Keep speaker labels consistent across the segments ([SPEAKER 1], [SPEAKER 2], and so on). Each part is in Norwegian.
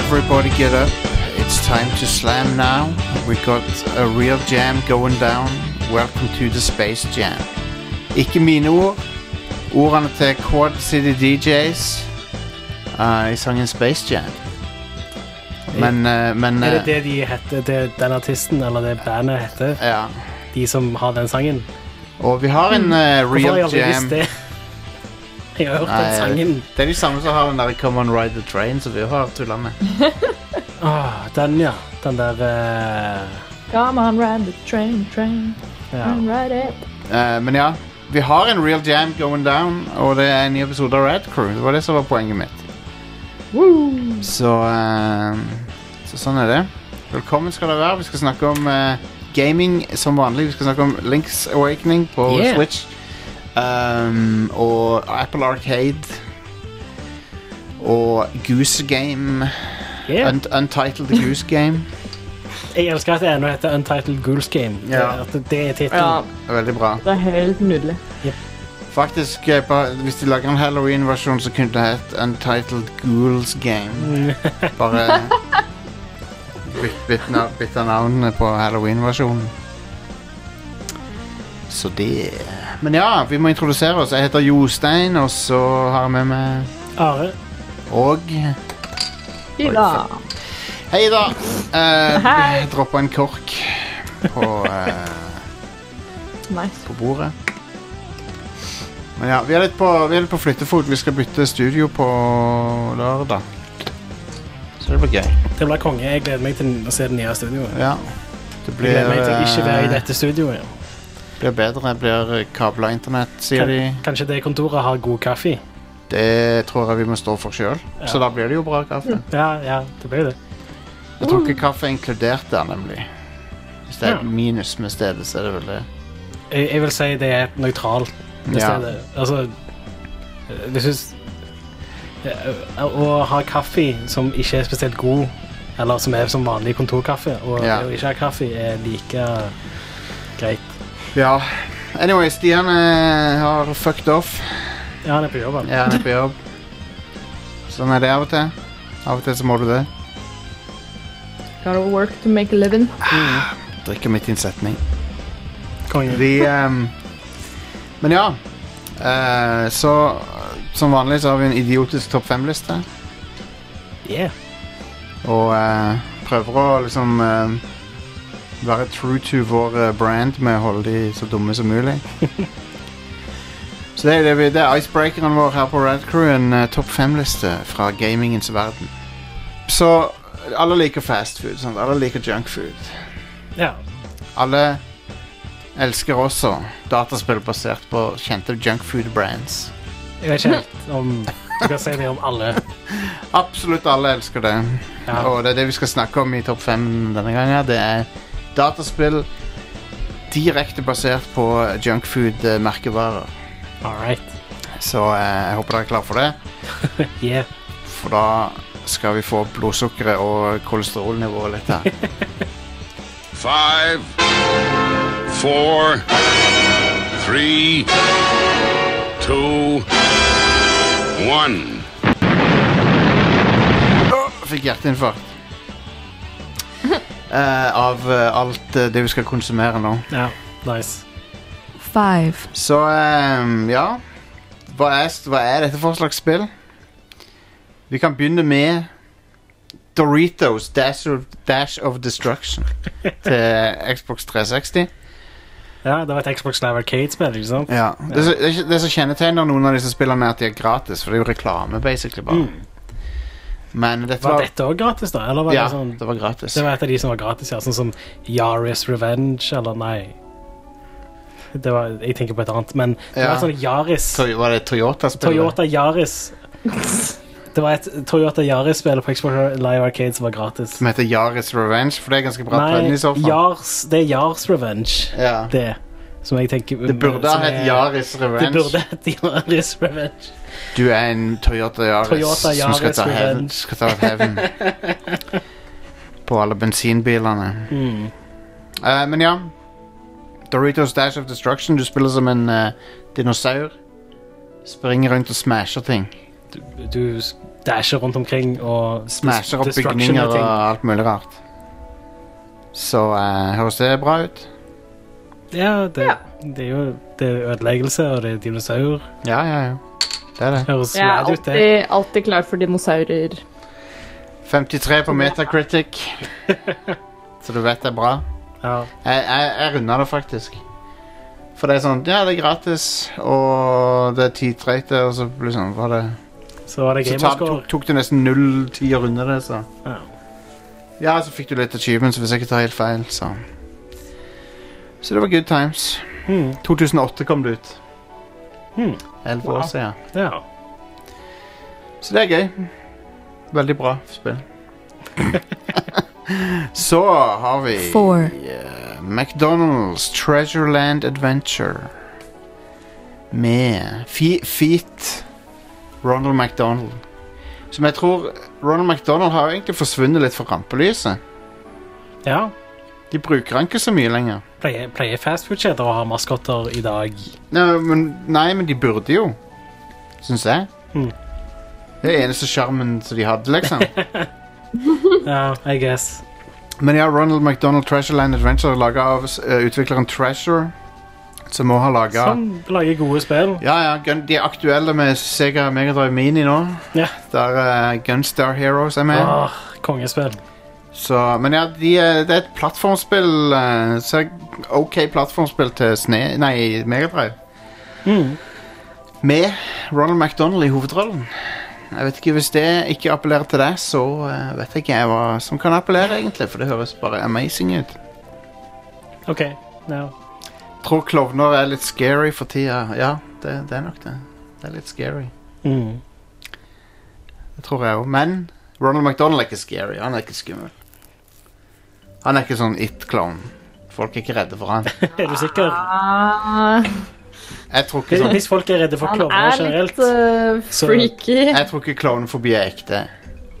[SPEAKER 1] Everybody get up. It's time to slam now. We got a real jam going down. Welcome to the Space Jam. Ikke mine ord. Ordene til Quad City DJs eh, i sangen Space Jam. Men, eh, men
[SPEAKER 2] Er det
[SPEAKER 1] eh,
[SPEAKER 2] det de heter, det den artisten eller det bandet heter?
[SPEAKER 1] Ja.
[SPEAKER 2] De som har den sangen?
[SPEAKER 1] Og vi har en eh,
[SPEAKER 2] Hvorfor har jeg
[SPEAKER 1] real
[SPEAKER 2] aldri visst
[SPEAKER 1] jam.
[SPEAKER 2] det? Jeg har hørt den
[SPEAKER 1] Nei,
[SPEAKER 2] sangen.
[SPEAKER 1] Det er de samme som har den der Come on ride the train som vi har tulla med.
[SPEAKER 2] Åh, Ah, den, ja. Den der eh,
[SPEAKER 3] Come on, ride the train, train,
[SPEAKER 2] ja.
[SPEAKER 3] and ride it.
[SPEAKER 1] Eh, men ja, vi har en real jam going down, og det er en ny episode av Rad Crew. Det var det som var poenget mitt. Så, eh, så sånn er det. Velkommen skal dere være. Vi skal snakke om eh, gaming som vanlig. Vi skal snakke om Links Awakening på
[SPEAKER 2] Yeah.
[SPEAKER 1] Switch. Um, og Apple Arcade. Og Goose Game.
[SPEAKER 2] Yeah.
[SPEAKER 1] Unt Untitled Goose Game.
[SPEAKER 2] Jeg elsker at det ennå heter Untitled Goose Game.
[SPEAKER 1] Ja.
[SPEAKER 2] At det er
[SPEAKER 3] Ja,
[SPEAKER 2] tittelen.
[SPEAKER 1] Veldig bra.
[SPEAKER 3] det er helt nydelig.
[SPEAKER 1] Faktisk, eh, bare- hvis de lager en Halloween-versjon, så kunne det hett Untitled Ghouls Game. Bare byt- bytt nav- bytte navnene på Halloween-versjonen. Så det Men ja, vi må introdusere oss. Jeg heter Jostein, og så har jeg med meg
[SPEAKER 2] Are.
[SPEAKER 1] Og
[SPEAKER 3] Ida.
[SPEAKER 1] Hei, da! Uh,
[SPEAKER 3] Hei.
[SPEAKER 1] Droppa en kork på eh,
[SPEAKER 3] Nice.
[SPEAKER 1] på bordet. Men ja, vi er litt på, vi er litt på flyttefot. Vi skal bytte studio på lørdag. Så det blir gøy.
[SPEAKER 2] Det blir konge. Jeg gleder meg til å se det nye studioet.
[SPEAKER 1] Ja. Det
[SPEAKER 2] Jeg
[SPEAKER 1] blir,
[SPEAKER 2] gleder meg til å ikke være i
[SPEAKER 1] eh,
[SPEAKER 2] dette studioet.
[SPEAKER 1] blir bedre. Det blir kabla internett, sier
[SPEAKER 2] Kan,
[SPEAKER 1] de.
[SPEAKER 2] kanskje det kontoret har god kaffe?
[SPEAKER 1] Det tror jeg vi må stå for sjøl.
[SPEAKER 2] Ja.
[SPEAKER 1] Så da blir det jo bra kaffe.
[SPEAKER 2] Ja, ja, det blir det.
[SPEAKER 1] Jeg tror ikke kaffe er inkludert der, nemlig. Hvis det er
[SPEAKER 2] Ja.
[SPEAKER 1] et minus med stedet, så er det vel det.
[SPEAKER 2] Jeg, jeg vil si det er nøytralt i
[SPEAKER 1] Ja.
[SPEAKER 2] stedet. Altså, øh, hvis du s- øh, Å ha kaffe som ikke er spesielt god, eller som er som vanlig kontorkaffe, og
[SPEAKER 1] Ja.
[SPEAKER 2] det å ikke ha kaffe er like greit.
[SPEAKER 1] Ja. Anyway, Stian eh, har fucked off.
[SPEAKER 2] Ja, han er på jobb. han.
[SPEAKER 1] Ja, han er på jobb. Sånn er det av og til. Av og til så må du det.
[SPEAKER 3] Gotta work to make a living.
[SPEAKER 1] Drikker midt i en setning.
[SPEAKER 2] Konge.
[SPEAKER 1] De, ehm, men ja. eh, så eh, som vanlig så har vi en idiotisk topp fem-liste.
[SPEAKER 2] Yeah.
[SPEAKER 1] Og eh, prøver å liksom eh, være true to vår eh, brand med å holde de så dumme som mulig. så det er, det, vi, det er icebreakeren vår her på Rad Crew, en eh, topp fem-liste fra gamingens verden. Så alle liker fast food. Sant? Alle liker junk food.
[SPEAKER 2] Ja.
[SPEAKER 1] Alle elsker også dataspill basert på kjente junkfood brands.
[SPEAKER 2] Jeg vet ikke helt om du kan si det om alle.
[SPEAKER 1] Absolutt alle elsker det.
[SPEAKER 2] Ja.
[SPEAKER 1] Og det er det vi skal snakke om i Topp 5 denne gangen. Det er dataspill direkte basert på junkfood-merkevarer.
[SPEAKER 2] All right.
[SPEAKER 1] Så eh, jeg håper dere er klare for det.
[SPEAKER 2] Yeah.
[SPEAKER 1] For da skal vi få opp blodsukkeret og kolesterolnivået litt her.
[SPEAKER 4] Five, four, three, two, one.
[SPEAKER 1] Åh, Fikk hjerteinfarkt. Eh, av eh, alt eh, det vi skal konsumere nå.
[SPEAKER 2] Ja. Nice.
[SPEAKER 3] Five.
[SPEAKER 1] Så ehm, ja hva er, hva er dette for slags spill? Vi kan begynne med Doritos Dash of, Dash of Destruction til Xbox 360.
[SPEAKER 2] Ja, det var et Xbox Live Arcade-spill, ikke sant?
[SPEAKER 1] Ja. Det, som- det, som kjennetegner noen av disse spillene, er at de er gratis. For det er jo reklame, basically. bare
[SPEAKER 2] Mm.
[SPEAKER 1] Men dette
[SPEAKER 2] Var
[SPEAKER 1] var,
[SPEAKER 2] dette òg gratis, da? Eller var
[SPEAKER 1] ja,
[SPEAKER 2] det sånn
[SPEAKER 1] det var gratis.
[SPEAKER 2] Det var et av de som var gratis, ja. Sånn som Yaris Revenge, eller nei. Det var, jeg tenker på et annet, men det
[SPEAKER 1] Ja.
[SPEAKER 2] var sånn Yaris.
[SPEAKER 1] To- var det Toyota-spillet?
[SPEAKER 2] Toyota Yaris. Det var et Toyota Yaris-spill på Xbox Live Arcade som var gratis.
[SPEAKER 1] Som heter Yaris Revenge, for det er ganske bra trend i så fall.
[SPEAKER 2] Yars, det er Yars Revenge,
[SPEAKER 1] Ja. Det,
[SPEAKER 2] det. Som jeg tenker
[SPEAKER 1] burde ha
[SPEAKER 2] som
[SPEAKER 1] hett
[SPEAKER 2] er-
[SPEAKER 1] Yaris Revenge.
[SPEAKER 2] Det burde hett Yaris Revenge.
[SPEAKER 1] Du er en Toyota Yaris,
[SPEAKER 2] Toyota
[SPEAKER 1] som skal
[SPEAKER 2] Yaris
[SPEAKER 1] ta hevn,
[SPEAKER 2] revenge.
[SPEAKER 1] skal ta hevn på alle bensinbilene.
[SPEAKER 2] Mm.
[SPEAKER 1] Eh, men ja. Doritos Dash of Destruction. Du spiller som en eh, dinosaur. Springer rundt og smasher ting.
[SPEAKER 2] Du, du s- dasher rundt omkring og
[SPEAKER 1] Smasher opp
[SPEAKER 2] destruction
[SPEAKER 1] bygninger og
[SPEAKER 2] ting.
[SPEAKER 1] alt mulig rart. Så eh, høres det bra ut?
[SPEAKER 2] Ja, det,
[SPEAKER 3] Ja.
[SPEAKER 2] det er jo det er ødeleggelse, og det er dinosaur.
[SPEAKER 1] Ja, ja, ja. Det er det.
[SPEAKER 2] Høres
[SPEAKER 3] Jeg er
[SPEAKER 2] rad ut, det.
[SPEAKER 3] alltid, alltid klar for dinosaurer.
[SPEAKER 1] 53 på Metacritic. Så du vet det er bra.
[SPEAKER 2] Ja.
[SPEAKER 1] Jeg, jeg, jeg runder det faktisk. For det er sånn Ja, det er gratis, og det er tidtrøyte, og så blir det sånn var det
[SPEAKER 2] Så var det
[SPEAKER 1] Så ta, tok,
[SPEAKER 2] gamerscore.
[SPEAKER 1] tok det nesten null tider under det, så
[SPEAKER 2] Ja.
[SPEAKER 1] Ja, så fikk du litt achievements, hvis jeg ikke tar helt feil, så Så det var good times.
[SPEAKER 2] Mm,
[SPEAKER 1] 2008 kom det ut.
[SPEAKER 2] mm,
[SPEAKER 1] Elleve
[SPEAKER 2] Wow.
[SPEAKER 1] år siden.
[SPEAKER 2] ja.
[SPEAKER 1] Så det er gøy. Veldig bra spill. så har vi
[SPEAKER 5] Four.
[SPEAKER 1] eh, McDonald's Treasureland Adventure. Med fe Feet Ronald McDonald. Som jeg tror Ronald McDonald har egentlig forsvunnet litt fra rampelyset.
[SPEAKER 2] ja.
[SPEAKER 1] De bruker han ikke så mye lenger.
[SPEAKER 2] Pleier, pleier fastfood-kjeder å ha maskotter i dag?
[SPEAKER 1] Nei, men, nei, men de burde jo. Syns jeg.
[SPEAKER 2] Mhm.
[SPEAKER 1] Det er eneste sjarmen som de hadde, liksom.
[SPEAKER 2] Ja, I guess.
[SPEAKER 1] Men ja, Ronald McDonald Treasureland Adventure er laget av eh, utvikleren Treasure. Som også har laga
[SPEAKER 2] Som Sånn, lager gode spill.
[SPEAKER 1] Ja, ja, Gun de er aktuelle med Sega Megadrive Mini nå.
[SPEAKER 2] Ja.
[SPEAKER 1] Der eh, Gunstar Heroes er med.
[SPEAKER 2] Åh, kongespill.
[SPEAKER 1] Så, men ja, de, eh, det er et plattformspill. eh, ser OK plattformspill til Sne... Nei, Megadrive.
[SPEAKER 2] Mm.
[SPEAKER 1] Med Ronald McDonald i hovedrollen. Jeg vet ikke, Hvis det ikke appellerer til deg, så eh, vet jeg ikke jeg hva som kan appellere, egentlig. For det høres bare amazing ut.
[SPEAKER 2] OK. Ja.
[SPEAKER 1] tror klovner er litt scary for tida. Ja, det, det er nok det. Det er litt scary.
[SPEAKER 2] Mm.
[SPEAKER 1] Det tror jeg òg. Men Ronald McDonald er ikke scary. Han er ikke skummel. Han er ikke sånn it-klovn. Folk er ikke redde for han.
[SPEAKER 2] Er du sikker?
[SPEAKER 3] Ah,
[SPEAKER 1] Jeg tror ikke sånn
[SPEAKER 2] Hvis folk er redde for
[SPEAKER 3] han
[SPEAKER 2] klovner
[SPEAKER 3] er litt
[SPEAKER 2] generelt
[SPEAKER 3] eh,
[SPEAKER 2] så-
[SPEAKER 3] freaky.
[SPEAKER 1] Jeg tror ikke klovnefobi er ekte.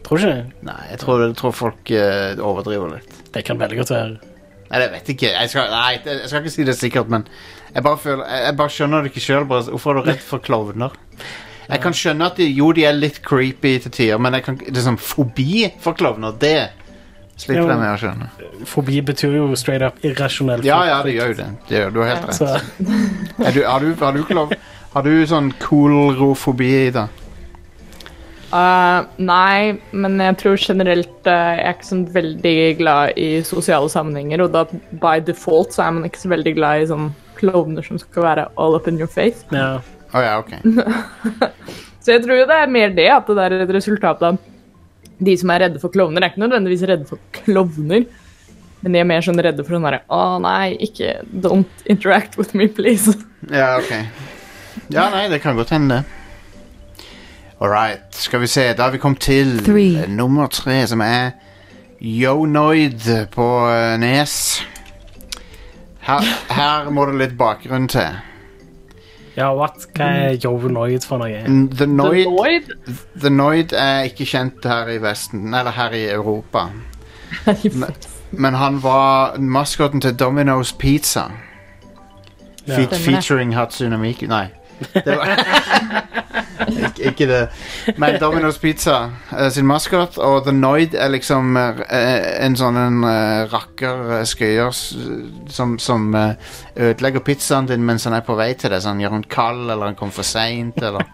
[SPEAKER 2] Tror ikke det.
[SPEAKER 1] Nei, jeg tror, jeg tror folk eh, overdriver litt.
[SPEAKER 2] Det kan veldig godt være.
[SPEAKER 1] Nei, jeg vet ikke. Jeg skal, nei, jeg skal ikke si det sikkert, men jeg bare, føler, jeg, jeg bare skjønner det ikke sjøl. Hvorfor er du redd for klovner? Jeg kan skjønne at de, jo, de er litt creepy til tider, men jeg kan, det er sånn fobi for klovner, det
[SPEAKER 2] Ja,
[SPEAKER 1] sliter
[SPEAKER 2] men-
[SPEAKER 1] jeg med å skjønne.
[SPEAKER 2] Fobi betyr jo straight up irrasjonell
[SPEAKER 1] Ja, ja, det gjør jo det. det gjør, du har helt
[SPEAKER 2] Så
[SPEAKER 1] rett. Er du, har, du, har, du klov, har du sånn cool-rofobi, Ida?
[SPEAKER 3] Eh, nei, men jeg tror generelt eh, Jeg er ikke sånn veldig glad i sosiale sammenhenger, og da by default så er man ikke så veldig glad i sånn klovner som skal være all up in your face.
[SPEAKER 2] ja.
[SPEAKER 1] Å ja, ok.
[SPEAKER 3] Så jeg tror jo det er mer det at det er et resultat av de som er redde for klovner, er ikke nødvendigvis redde for klovner, men de er mer sånn redde for sånn derre Å nei, ikke Don't interact with me, please.
[SPEAKER 1] Ja, ok. Ja, nei, det kan godt hende, det. All right, skal vi se. Da har vi kommet til
[SPEAKER 5] Three.
[SPEAKER 1] eh, nummer tre, som er Yonoid på eh, Nes. Her, her må det litt bakgrunn til.
[SPEAKER 2] ja, what? Hva er
[SPEAKER 3] Mm.
[SPEAKER 2] Jovonoid for noe?
[SPEAKER 1] N- The
[SPEAKER 3] The
[SPEAKER 1] Noid,
[SPEAKER 3] Lloyd
[SPEAKER 1] The Noid er ikke kjent her i Vesten, eller her i Europa.
[SPEAKER 3] er i f-
[SPEAKER 1] Men han var maskotten til Domino's Pizza.
[SPEAKER 2] Ja.
[SPEAKER 1] Fe
[SPEAKER 3] det.
[SPEAKER 1] featuring Hatsune Miku Nei. Det var Ik Ikke det. Men Domino's Pizza eh, sin maskot og The Noid er liksom eh, eh, en sånn en eh, rakker, eh, skøyer, s- som, som eh, ødelegger pizzaen din mens han er på vei til deg. Så han gjør den kald, eller han kommer for seint, eller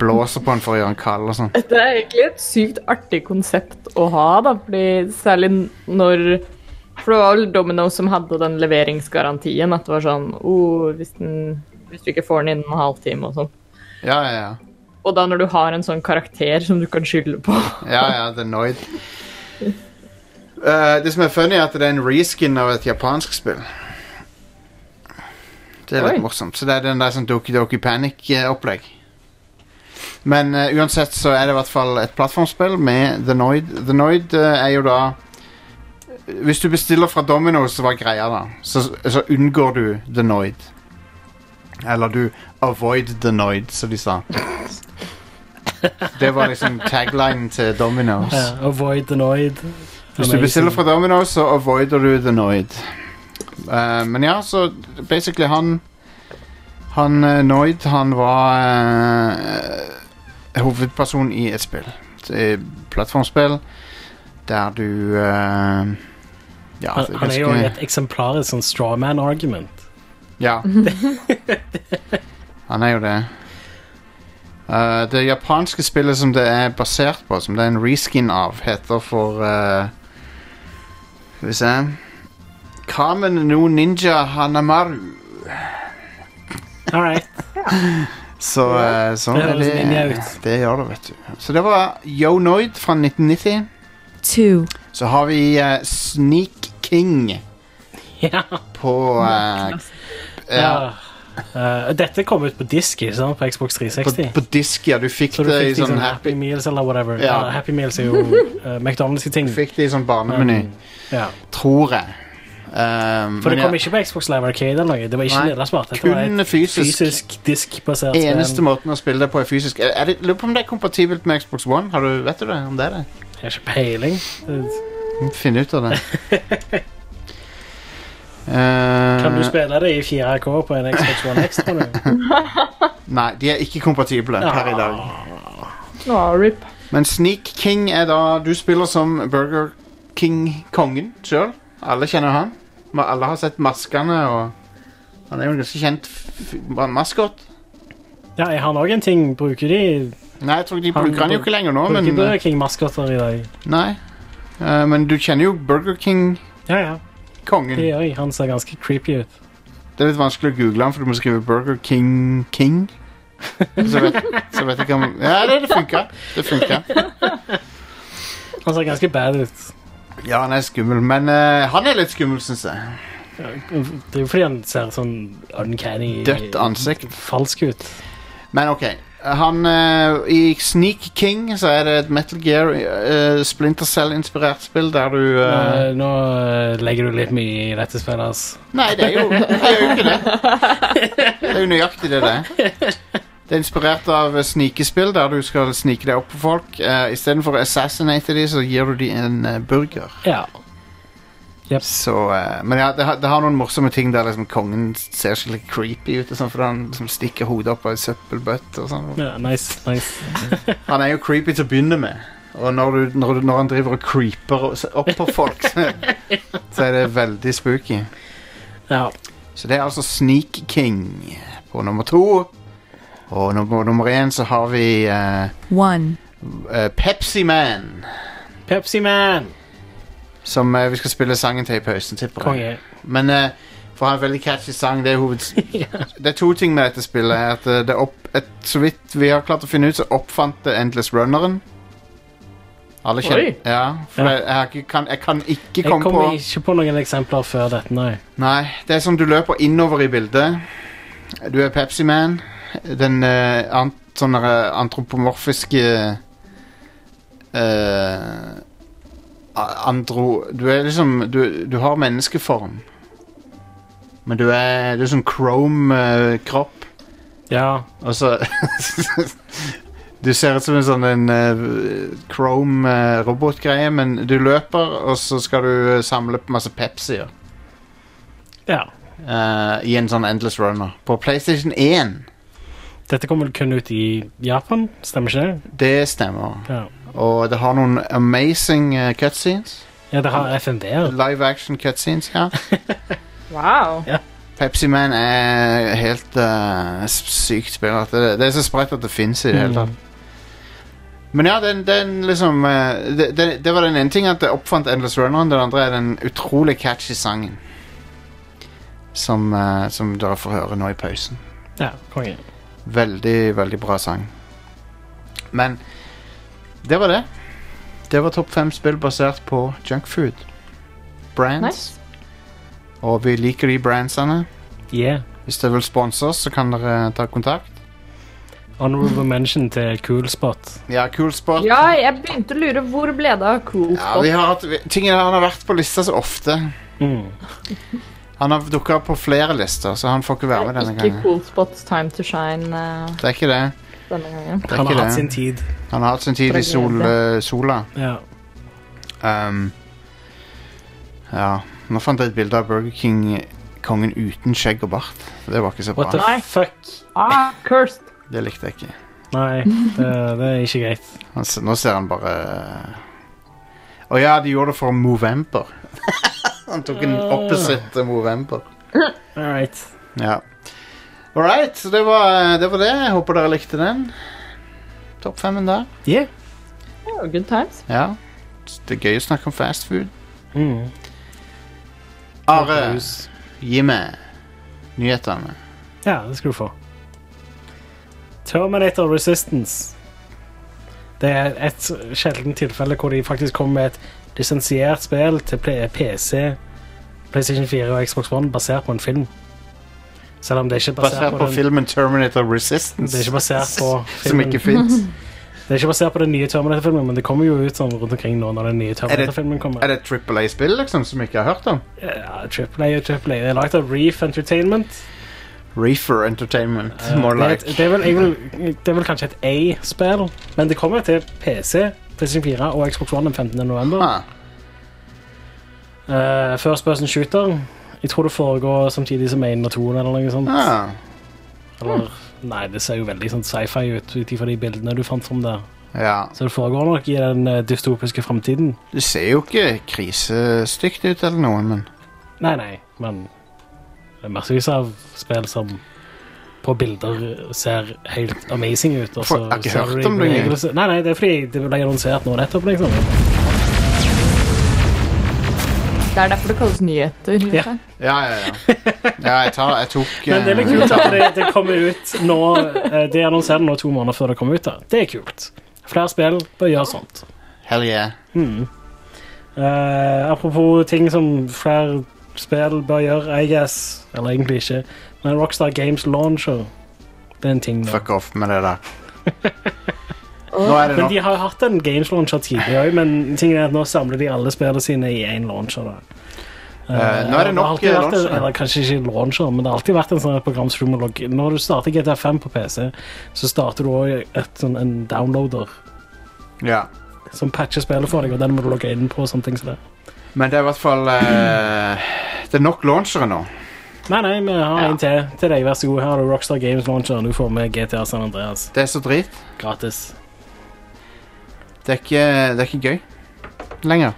[SPEAKER 1] blåser på den for å gjøre den kald og sånn.
[SPEAKER 3] Det er egentlig et sykt artig konsept å ha, da, fordi særlig når For det var vel Domino som hadde den leveringsgarantien, at det var sånn oh, hvis, den, hvis du ikke får den innen en halvtime og sånn.
[SPEAKER 1] Ja, ja, ja.
[SPEAKER 3] Og da når du har en sånn karakter som du kan skylde på
[SPEAKER 1] Ja, ja, The Noid. Eh, det som er funny, er at det er en reskin av et japansk spill. Det er litt
[SPEAKER 3] Oi.
[SPEAKER 1] morsomt. Så det er den der sånn Doki Doki Panic-opplegg. Men eh, uansett så er det i hvert fall et plattformspill med The Noid. The Noid eh, er jo da Hvis du bestiller fra Domino's, hva er greia da? Så, så unngår du The Noid. Eller du avoid The Noid, som de sa. Det var liksom taglinen til Domino's.
[SPEAKER 2] Ja, avoid the noid.
[SPEAKER 1] Hvis du bestiller fra Domino, så avoider du The Noid. Eh, men ja, så basically han Han eh, Noid, han var eh, hovedperson i et spill. Det er Plattformspill der du eh, Ja,
[SPEAKER 2] Han, han er jo et eksemplarisk sånn strawman-argument.
[SPEAKER 1] Ja. Han er jo det. Eh, det japanske spillet som det er basert på, som det er en reskin av, heter for eh, Skal vi se Kamen no ninja Hanamaru.
[SPEAKER 2] All right.
[SPEAKER 1] Så eh, sånn
[SPEAKER 2] Det
[SPEAKER 1] er
[SPEAKER 2] høres ninja
[SPEAKER 1] det.
[SPEAKER 2] ut.
[SPEAKER 1] Det gjør det, vet du. Så det var Yonoid fra 1990.
[SPEAKER 5] two,
[SPEAKER 1] Så har vi eh, Sneak King
[SPEAKER 2] Ja.
[SPEAKER 1] på eh, ja,
[SPEAKER 2] Ja. Eh, dette kom ut på disk, ikke sant? På Xbox
[SPEAKER 1] på,
[SPEAKER 2] 360.
[SPEAKER 1] på disk, ja. Du fikk
[SPEAKER 2] så du
[SPEAKER 1] det i
[SPEAKER 2] fikk de
[SPEAKER 1] sånn
[SPEAKER 2] sånn Happy
[SPEAKER 1] happy
[SPEAKER 2] Meals eller whatever.
[SPEAKER 1] Ja.
[SPEAKER 2] Eller Happy Meals er jo eh, McDonald's i ting.
[SPEAKER 1] Du fikk det i sånn barnemeny.
[SPEAKER 2] Um, ja.
[SPEAKER 1] Tror jeg. Um,
[SPEAKER 2] For det
[SPEAKER 1] men
[SPEAKER 2] kom
[SPEAKER 1] ja,
[SPEAKER 2] ikke på Xbox Live Arcade eller noe. Det var ikke
[SPEAKER 1] Nei,
[SPEAKER 2] nedlastbart. Dette var
[SPEAKER 1] kun
[SPEAKER 2] et
[SPEAKER 1] fysisk.
[SPEAKER 2] fysisk diskbasert spill.
[SPEAKER 1] Eneste måten å spille det på er fysisk. Er- er det- Lurer på om det er kompatibelt med Xbox One. Har du, vet du det? om det er det?
[SPEAKER 2] Jeg har ikke peiling. Eh,
[SPEAKER 1] Finn ut av det. Eh,
[SPEAKER 2] Kan du spille det i 4K på en Xbox One X? tror du?
[SPEAKER 1] nei, de er ikke kompatible per i dag.
[SPEAKER 3] Å, rip.
[SPEAKER 1] Men Sneak King er da Du spiller som Burger King-kongen sjøl. Alle kjenner han. Ma- Alle har sett maskene og Han er jo en ganske kjent f- f- maskot.
[SPEAKER 2] Ja, jeg har noen ting. Bruker de
[SPEAKER 1] Nei, jeg tror de
[SPEAKER 2] Han
[SPEAKER 1] bruker han jo
[SPEAKER 2] bru-
[SPEAKER 1] ikke lenger nå,
[SPEAKER 2] Bruker
[SPEAKER 1] men eh,
[SPEAKER 2] Burger King-maskoter i dag?
[SPEAKER 1] Nei. Eh, men du kjenner jo Burger King-kongen.
[SPEAKER 2] Ja, ja. Det
[SPEAKER 1] Mm.
[SPEAKER 2] gjør jeg. Han ser ganske creepy ut.
[SPEAKER 1] Det er litt vanskelig å google han, for du må skrive Burger King King. Så vet, så vet jeg ikke om Ja, det, det funka. Det funka.
[SPEAKER 2] Han ser ganske bad ut.
[SPEAKER 1] Ja, han er skummel, men eh, han er litt skummel, syns jeg.
[SPEAKER 2] Det er jo fordi han ser sånn uncanny
[SPEAKER 1] Dødt ansikt.
[SPEAKER 2] Falsk ut.
[SPEAKER 1] Men OK. Han eh, I Sneak King så er det et Metal Gear eh, Splinter Cell-inspirert spill der du eh,
[SPEAKER 2] Nå, nå legger du litt mye i dette spillet, ass.
[SPEAKER 1] Nei, det er jo, det er jo ikke det. Det er jo nøyaktig det det er. Det er inspirert av eh, snikespill der du skal snike deg opp på folk. Uh, Istedenfor å assassinate dem, så gir du dem en eh, burger.
[SPEAKER 2] Ja.
[SPEAKER 1] Så, eh, men ja, det, har- det har noen morsomme ting der liksom kongen ser skikkelig creepy ut, og sånn, fordi han liksom stikker hodet opp av en søppelbøtte. og sånn.
[SPEAKER 2] ja nice, nice.
[SPEAKER 1] Han er jo creepy til å begynne med, og når, du, når, du, når han driver og creeper og s- opp på folk, så, så er det veldig spooky.
[SPEAKER 2] Ja.
[SPEAKER 1] Så det er altså Sneak King på nummer to. Og num- på nummer én så har vi eh,
[SPEAKER 5] one,
[SPEAKER 1] eh, Pepsi Man,
[SPEAKER 2] Pepsi Man!
[SPEAKER 1] som eh, vi skal spille sangen til i pausen, tipper jeg.
[SPEAKER 2] Konge.
[SPEAKER 1] Men eh, for å ha en veldig catchy sang, det er hoveds... Det er to ting med dette spillet. er At eh, det opp, et, så vidt vi har klart å finne ut, så oppfant det Endless Runneren. Alle kjenner
[SPEAKER 3] Oi.
[SPEAKER 1] Ja, for
[SPEAKER 2] Ja.
[SPEAKER 1] Jeg, jeg, har ikke- kan, jeg kan ikke
[SPEAKER 2] Jeg
[SPEAKER 1] komme på
[SPEAKER 2] kommer ikke på noen eksempler før dette, nei.
[SPEAKER 1] Nei, det er som du løper innover i bildet. Du er Pepsi-Man. Den eh, ant, sånne eh, antropomorfiske eh, a- Andro... Du er liksom Du, du har menneskeform. Men du er, du er sånn chrome-kropp.
[SPEAKER 2] Ja.
[SPEAKER 1] og så Du ser ut som en sånn en chrome-robotgreie, men du løper, og så skal du eh, samle på masse Pepsier.
[SPEAKER 2] ja.
[SPEAKER 1] Eh, i en sånn Endless Runner. På PlayStation 1.
[SPEAKER 2] Dette kommer vel kun ut i Japan, stemmer ikke det?
[SPEAKER 1] Det stemmer.
[SPEAKER 2] Ja.
[SPEAKER 1] Og det har noen amazing eh, cutscenes.
[SPEAKER 2] Ja, det har FND-er.
[SPEAKER 1] Live action cutscenes, ja.
[SPEAKER 3] Wow.
[SPEAKER 1] Pepsi-Man er helt eh, s- sykt spill. at Det, det er så sprøtt at det fins i det hele tatt. Men ja, den, den liksom eh, det, det, det var den ene ting at jeg oppfant Endless Runneren. Den andre er den utrolig catchy sangen. Som, eh, som dere får høre nå i pausen.
[SPEAKER 2] Ja, konge.
[SPEAKER 1] Veldig, veldig bra sang. Men det var det. Det var topp fem spill basert på junkfood. Brands.
[SPEAKER 3] Nice.
[SPEAKER 1] Og vi liker de brandsene.
[SPEAKER 2] Yeah.
[SPEAKER 1] Hvis dere vil sponse oss, så kan dere ta kontakt.
[SPEAKER 2] Honorable mention til Cool Spot.
[SPEAKER 1] Ja, Cool Spot.
[SPEAKER 3] Ja, jeg begynte å lure. Hvor ble det av cool
[SPEAKER 1] Ja,
[SPEAKER 3] spot?
[SPEAKER 1] vi har hatt, vi, tingene han har vært på lista så ofte.
[SPEAKER 2] Mm.
[SPEAKER 1] Han har dukka opp på flere lister, så han får ikke være med denne
[SPEAKER 3] Ikke
[SPEAKER 1] gangen.
[SPEAKER 3] cool spots time to shine eh,
[SPEAKER 1] Det er ikke det.
[SPEAKER 3] denne gangen.
[SPEAKER 1] det, er
[SPEAKER 2] Han har
[SPEAKER 1] ikke
[SPEAKER 2] hatt sin
[SPEAKER 1] det.
[SPEAKER 2] tid.
[SPEAKER 1] Han har hatt sin tid i sol, eh, sola.
[SPEAKER 2] Ja.
[SPEAKER 1] Um, ja, nå fant jeg et bilde av Burger King-kongen uten skjegg og bart. Det var ikke så
[SPEAKER 2] What the
[SPEAKER 1] bra.
[SPEAKER 3] Nei.
[SPEAKER 2] fuck?
[SPEAKER 3] Ah, cursed.
[SPEAKER 1] Det likte jeg ikke.
[SPEAKER 2] Nei, det, det er ikke greit.
[SPEAKER 1] Han se- Nå ser han bare eh, Å ja, de gjorde det for Movember. han tok en opposite til Movember.
[SPEAKER 2] All right.
[SPEAKER 1] Ja. All right, så det var, eh, det var det. Jeg håper dere likte den. Topp femmen der.
[SPEAKER 2] Yeah.
[SPEAKER 3] Oh, good times.
[SPEAKER 1] Ja. Det er gøy å snakke om fast food.
[SPEAKER 2] Mm.
[SPEAKER 1] Are, gi meg nyhetene.
[SPEAKER 2] Ja, det skal du få. Terminator Resistance. Det er et sjeldent tilfelle hvor de faktisk kommer med et lisensiert spill til P- PC, PlayStation 4 og Xbox One basert på en film. Selv om det er ikke basert,
[SPEAKER 1] Basert på
[SPEAKER 2] den,
[SPEAKER 1] filmen Terminator
[SPEAKER 2] det er
[SPEAKER 1] Resistance,
[SPEAKER 2] ikke basert på
[SPEAKER 1] som
[SPEAKER 2] filmen. Mm.
[SPEAKER 1] ikke fins.
[SPEAKER 2] Det er ikke basert på den nye Terminator-filmen, men det kommer jo ut sånn rundt omkring nå når den nye Terminator-filmen kommer.
[SPEAKER 1] Er det et Triple A-spill liksom, som vi ikke har hørt om?
[SPEAKER 2] Ja, AAA og AAA. Det er laget av Reef Entertainment.
[SPEAKER 1] Reefer Entertainment, more
[SPEAKER 2] Eh, det, er et-
[SPEAKER 1] like.
[SPEAKER 2] det, er vel, jeg vil, det er vel kanskje et A-spill, men det kommer til PC, PlayStation 4 og Xbox One den 15. november.
[SPEAKER 1] Ah,
[SPEAKER 2] Eh, first person shooter. Jeg tror det foregår samtidig som 1 og 2 eller noe sånt.
[SPEAKER 1] ah.
[SPEAKER 2] Eller, nei, det ser jo veldig sånn sci-fi ut ut ifra de bildene du fant fram der.
[SPEAKER 1] Ja.
[SPEAKER 2] Så det foregår nok i den eh, dystopiske framtiden.
[SPEAKER 1] Det ser jo ikke krisestygt ut eller noe, men
[SPEAKER 2] Nei, nei, men det er massevis av spill som på bilder ser helt amazing ut. Og
[SPEAKER 1] For-
[SPEAKER 2] så
[SPEAKER 1] jeg har ikke
[SPEAKER 2] ser
[SPEAKER 1] hørt
[SPEAKER 2] du de
[SPEAKER 1] om det engang.
[SPEAKER 2] bevegelse- Nei, nei, det er fordi det ble annonsert nå nettopp, liksom.
[SPEAKER 3] Det er derfor det kalles nyheter. liksom.
[SPEAKER 2] Ja.
[SPEAKER 3] Jostein.
[SPEAKER 1] Ja, ja, ja. ja jeg, tar, jeg tok
[SPEAKER 2] Men det er litt
[SPEAKER 1] eh,
[SPEAKER 2] kult at det, det kommer ut nå eh, De annonserer det nå to måneder før det kommer ut. da Det er kult. Flere spill bør gjøre sånt.
[SPEAKER 1] Hell yeah.
[SPEAKER 2] Hmm. Eh, apropos ting som flere spill bør gjøre, I guess. Eller egentlig ikke. Men Rockstar Games Launcher, det er en ting nå.
[SPEAKER 1] Fuck off med det der. Nå er det
[SPEAKER 2] Men
[SPEAKER 1] nok.
[SPEAKER 2] de har jo hatt en games launcher tidligere òg, men tingen er at nå samler de alle spillene sine i én launcher. da.
[SPEAKER 1] Eh, nå er det
[SPEAKER 2] Eh,
[SPEAKER 1] nok
[SPEAKER 2] har alltid vært en-
[SPEAKER 1] launcher.
[SPEAKER 2] Eller kanskje ikke launcher, men det har alltid vært en sånn et program som du må logge Når du starter GTA5 på PC, så starter du òg sånn, en downloader
[SPEAKER 1] Ja.
[SPEAKER 2] som patcher spillet for deg, og den må du logge inn på. og sånne ting som det.
[SPEAKER 1] Men det er i hvert fall eh, Det er nok launchere nå.
[SPEAKER 2] Nei, nei, vi har
[SPEAKER 1] Ja.
[SPEAKER 2] en til til deg. Vær så god. Her har du Rockstar Games Launcher. Du får med GTA San Andreas
[SPEAKER 1] Det er så drit.
[SPEAKER 2] gratis.
[SPEAKER 1] Det er ikke, det er ikke gøy lenger.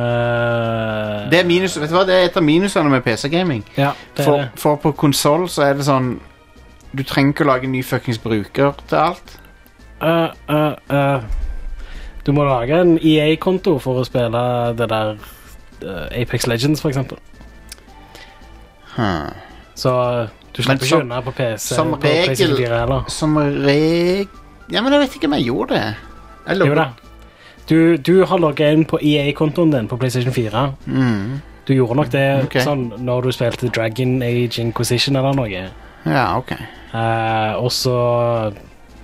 [SPEAKER 2] Eh,
[SPEAKER 1] Det er, minus, vet du hva? det er et av minusene med PC-gaming.
[SPEAKER 2] Ja, det er
[SPEAKER 1] For,
[SPEAKER 2] det.
[SPEAKER 1] for på konsoll så er det sånn Du trenger ikke å lage en ny fuckings bruker til alt.
[SPEAKER 2] Eh, eh, eh. Du må lage en EA-konto for å spille det der eh, Apex Legends, for eksempel.
[SPEAKER 1] Hm.
[SPEAKER 2] Så eh, du
[SPEAKER 1] Men
[SPEAKER 2] slipper
[SPEAKER 1] som-
[SPEAKER 2] ikke unna på PC
[SPEAKER 1] som
[SPEAKER 2] på PlayStation
[SPEAKER 1] regel-
[SPEAKER 2] 4 heller.
[SPEAKER 1] Som reg... Ja, men jeg vet ikke om jeg gjorde det. Jeg
[SPEAKER 2] Jo
[SPEAKER 1] logger-
[SPEAKER 2] da. Du, du har logget inn på EA-kontoen din på PlayStation 4.
[SPEAKER 1] Mm.
[SPEAKER 2] Du gjorde nok det
[SPEAKER 1] Ok.
[SPEAKER 2] sånn når du spilte Dragon Age Inquisition eller noe.
[SPEAKER 1] Ja, ok.
[SPEAKER 2] Eh, og så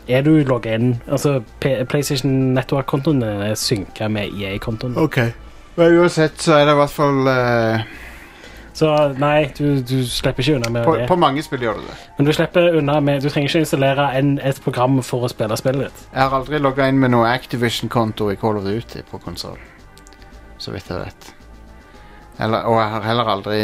[SPEAKER 2] er du logget inn Altså, P PlayStation Network-kontoen din er synka med E EA-kontoen.
[SPEAKER 1] Ok. Men uansett så er det i hvert fall eh,
[SPEAKER 2] Så nei, du, du slipper ikke unna med
[SPEAKER 1] på,
[SPEAKER 2] det.
[SPEAKER 1] på mange spill gjør det det.
[SPEAKER 2] Men du slipper unna med Du trenger ikke installere en, et program for å spille spillet ditt.
[SPEAKER 1] Jeg har aldri logga inn med noe Activision-konto i Call of Duty på konsoll. Så vidt jeg vet. Eller, og jeg har heller aldri